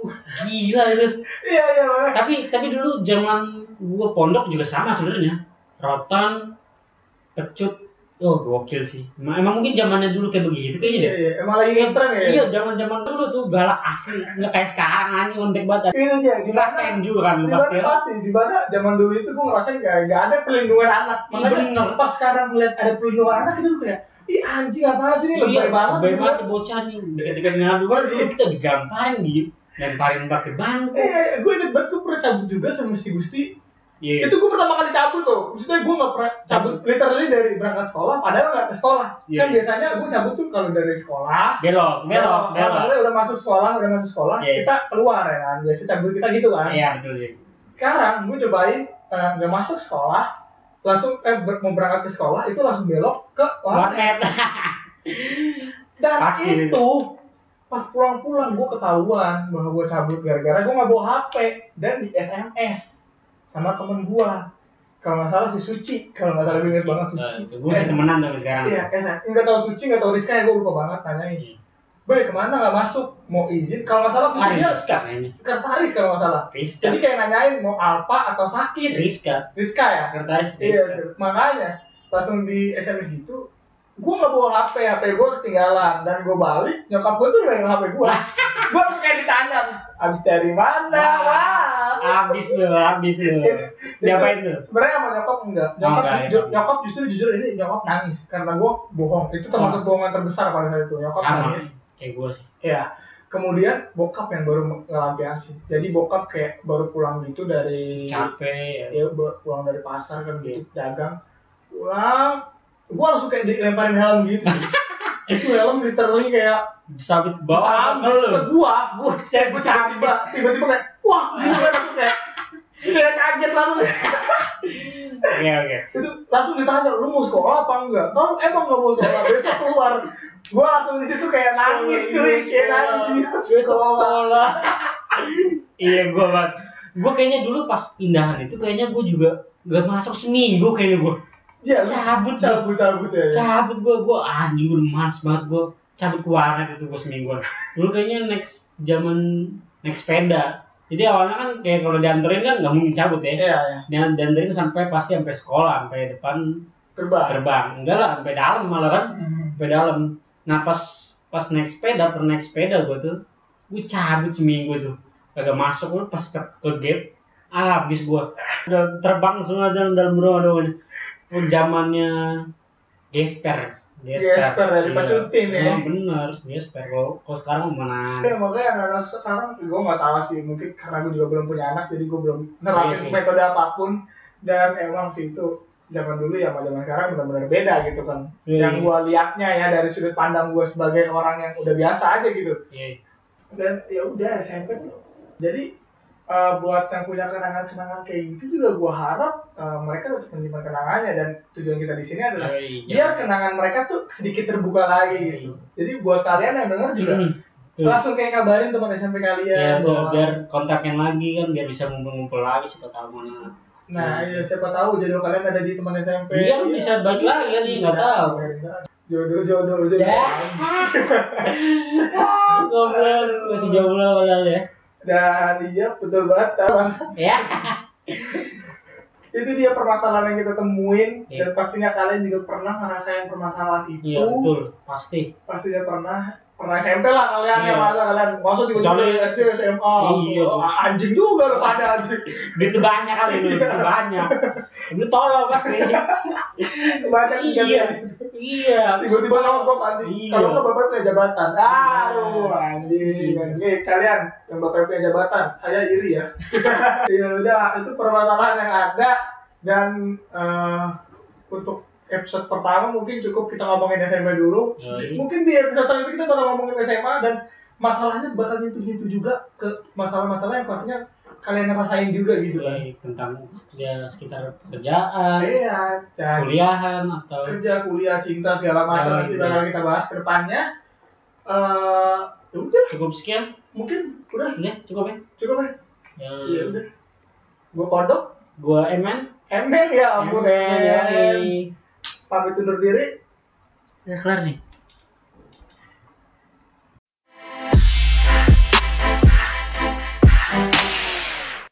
Speaker 2: Wah, gila itu.
Speaker 1: iya iya makanya.
Speaker 2: Tapi tapi dulu zaman gua pondok juga sama sebenarnya. Rotan, kecut, oh gokil sih. Emang, emang mungkin zamannya dulu kayak begitu kayaknya
Speaker 1: iya
Speaker 2: deh.
Speaker 1: iya emang lagi ngetren ya
Speaker 2: Iya, zaman-zaman dulu tuh galak asli, nggak kayak sekarang anjing lembek banget.
Speaker 1: itu aja
Speaker 2: Ngerasain juga kan lu
Speaker 1: di
Speaker 2: pasti.
Speaker 1: mana pasti di mana zaman dulu itu gue ngerasain gak, gak ada perlindungan anak
Speaker 2: Iya, bener.
Speaker 1: makanya pas sekarang ngeliat ada perlindungan anak itu tuh kayak ih anjing apa sih ini lebay banget
Speaker 2: Iya, lebay
Speaker 1: gitu
Speaker 2: banget
Speaker 1: kan.
Speaker 2: bocah nih. Dekat-dekat dengan aduan dulu kita digamparin gitu. Lemparin pakai bangku.
Speaker 1: Eh, eh, gue inget banget gue pernah cabut juga sama si Gusti
Speaker 2: Iya.
Speaker 1: itu gue pertama kali cabut loh maksudnya gue nggak pernah cabut literally dari berangkat sekolah padahal nggak ke sekolah
Speaker 2: Iya,
Speaker 1: kan
Speaker 2: iya.
Speaker 1: biasanya gue cabut tuh kalau dari sekolah
Speaker 2: Belok, belok,
Speaker 1: Oh,
Speaker 2: belok.
Speaker 1: Kalau udah masuk sekolah, udah masuk sekolah,
Speaker 2: Iya.
Speaker 1: kita keluar ya kan. Biasa cabut kita gitu kan.
Speaker 2: Iya, betul sih.
Speaker 1: Sekarang gue cobain eh, nggak masuk sekolah, langsung eh ber- mau berangkat ke sekolah itu langsung belok ke warnet.
Speaker 2: Warnet.
Speaker 1: Dan
Speaker 2: Pasti.
Speaker 1: itu pas pulang-pulang gue ketahuan bahwa gue cabut gara-gara gue nggak bawa HP dan di SMS sama temen gue. Kalau nggak salah si Suci, kalau nggak salah gue inget banget Suci.
Speaker 2: Gue Nah, Eh, masih temenan tapi sekarang.
Speaker 1: Iya, SMS. Nggak tahu Suci, nggak tahu Rizka ya gue lupa banget tanyain.
Speaker 2: Iya.
Speaker 1: Boy kemana nggak masuk? Mau izin? Kalau nggak salah mungkin
Speaker 2: Mari
Speaker 1: dia
Speaker 2: Rizka ini.
Speaker 1: sekretaris kalau nggak salah.
Speaker 2: Rizka.
Speaker 1: Jadi kayak nanyain mau alfa atau sakit.
Speaker 2: Rizka.
Speaker 1: Rizka ya.
Speaker 2: Sekretaris Rizka.
Speaker 1: Iya, makanya langsung di SMS gitu gue nggak bawa HP, HP gue ketinggalan dan gue balik, nyokap gue tuh megang HP gue gue kayak ditanya abis, abis dari mana,
Speaker 2: Wah.
Speaker 1: wah
Speaker 2: Abis lu, abis lu.
Speaker 1: Iya.
Speaker 2: Diapain lu?
Speaker 1: sebenarnya sama nyokap enggak nyokap,
Speaker 2: enggak,
Speaker 1: ju-
Speaker 2: nyokap.
Speaker 1: nyokap justru jujur ini nyokap nangis karena gue bohong, itu termasuk bohongan terbesar pada saat itu nyokap
Speaker 2: Ah. Sama.
Speaker 1: nangis
Speaker 2: Kayak gue sih.
Speaker 1: Ya, kemudian bokap yang baru ngelampiasi. Jadi bokap kayak baru pulang gitu dari
Speaker 2: Capek.
Speaker 1: dia
Speaker 2: ya.
Speaker 1: baru pulang dari pasar kan gitu dagang. Pulang, gua langsung kayak dilemparin helm gitu. itu helm literally kayak
Speaker 2: Sabit
Speaker 1: sama
Speaker 2: bawah.
Speaker 1: ke
Speaker 2: Sama lu.
Speaker 1: gua.
Speaker 2: Buset,
Speaker 1: Gua
Speaker 2: sabit.
Speaker 1: tiba-tiba tiba-tiba kayak wah gitu kan Terus kayak kayak kaget langsung
Speaker 2: Oke, Iya, oke.
Speaker 1: itu langsung ditanya lu mau sekolah apa enggak kalau emang nggak mau sekolah besok keluar gua langsung di situ kayak nangis cuy kayak nangis
Speaker 2: Besok sekolah. iya gue banget. Gue kayaknya dulu pas pindahan itu kayaknya gue juga gak masuk seminggu kayaknya gue.
Speaker 1: Iya, lu
Speaker 2: Cabut,
Speaker 1: cabut cabut ya. ya.
Speaker 2: Cabut gue, gue anjing gue males banget gue. Cabut ke warnet itu gue semingguan. Dulu kayaknya next zaman next sepeda. Jadi awalnya kan kayak kalau dianterin kan nggak mungkin cabut ya.
Speaker 1: Iya, ya.
Speaker 2: Dan dianterin sampai pasti sampai sekolah, sampai depan
Speaker 1: Terbang.
Speaker 2: gerbang. Enggak lah, sampai dalam malah kan sampai dalam nah pas pas naik sepeda per naik sepeda gue tuh gue cabut seminggu tuh kagak masuk gue pas ke, ke gate ah, habis gue udah terbang semua dalam dalam rumah doang pun zamannya gesper Iya.
Speaker 1: Gesper, ya, dipacutin, ya.
Speaker 2: Emang bener gesper kalau kalau sekarang mah mana
Speaker 1: Ya, makanya anak-anak sekarang gue nggak tahu sih mungkin karena gue juga belum punya anak jadi gue belum nerapin
Speaker 2: Iya sih.
Speaker 1: metode apapun dan emang sih itu zaman dulu ya sama zaman sekarang benar-benar beda gitu kan
Speaker 2: Iya,
Speaker 1: yang
Speaker 2: iya.
Speaker 1: gue liatnya ya dari sudut pandang gue sebagai orang yang udah biasa aja gitu
Speaker 2: Iya.
Speaker 1: dan ya udah SMP tuh jadi eh, buat yang punya kenangan-kenangan kayak gitu juga gue harap eh, mereka tetap menyimpan kenangannya dan tujuan kita di sini adalah biar
Speaker 2: Yoi, jangan- Iya,
Speaker 1: kenangan mereka tuh sedikit terbuka lagi gitu. Jadi buat kalian yang denger juga
Speaker 2: Hmm, tuh.
Speaker 1: langsung kayak kabarin teman SMP
Speaker 2: Ya,
Speaker 1: kalian.
Speaker 2: biar,
Speaker 1: bahwa-
Speaker 2: biar kontaknya lagi kan biar bisa ngumpul-ngumpul lagi siapa tahu mana
Speaker 1: Nah, iya siapa tahu jodoh kalian ada di teman SMP.
Speaker 2: biar Iya, bisa balik lagi kan ya, nggak tahu
Speaker 1: Iya. Jodoh jodoh jodoh.
Speaker 2: Ya. Goblok, masih jomblo padahal ya.
Speaker 1: Dan iya betul banget Bang.
Speaker 2: Ya.
Speaker 1: Itu dia permasalahan yang kita temuin
Speaker 2: Iya.
Speaker 1: dan pastinya kalian juga pernah ngerasain permasalahan itu.
Speaker 2: Iya betul, pasti.
Speaker 1: Pastinya pernah pernah SMP lah kalian
Speaker 2: Iya.
Speaker 1: yang masa kalian masuk juga
Speaker 2: Kecuali-
Speaker 1: dari SD SMA.
Speaker 2: Iya.
Speaker 1: Oh, anjing juga lo pada anjing.
Speaker 2: Duit lu banyak kali lu, duit lu banyak. Lu tolong pasti.
Speaker 1: Banyak
Speaker 2: Iya.
Speaker 1: kejadian.
Speaker 2: Iya.
Speaker 1: tiba-tiba nongkrong anjing
Speaker 2: Iya.
Speaker 1: kalau nggak bapak punya jabatan aduh
Speaker 2: Iya.
Speaker 1: anjing anjing Eh, kalian yang bapak punya jabatan saya iri ya ya udah itu permasalahan yang ada dan eh, untuk episode pertama mungkin cukup kita ngomongin SMA dulu.
Speaker 2: Yoi.
Speaker 1: Mungkin di episode selanjutnya kita bakal ngomongin SMA dan masalahnya bakal nyentuh-nyentuh juga ke masalah-masalah yang pastinya kalian rasain juga gitu kan.
Speaker 2: Mulai eh, tentang ya, sekitar pekerjaan,
Speaker 1: Iya, dan
Speaker 2: kuliahan atau
Speaker 1: kerja, kuliah, cinta segala macam
Speaker 2: Nah,
Speaker 1: itu
Speaker 2: iya.
Speaker 1: bakal kita bahas ke depannya. Eh, ya udah,
Speaker 2: cukup sekian,
Speaker 1: mungkin udah
Speaker 2: udah cukup ya.
Speaker 1: cukup ya.
Speaker 2: Ya,
Speaker 1: Iya udah. Gue kodok,
Speaker 2: gua Eman,
Speaker 1: emel ya ampun.
Speaker 2: Eman,
Speaker 1: Emen.
Speaker 2: yoi.
Speaker 1: Pamit undur diri.
Speaker 2: ya kelar nih.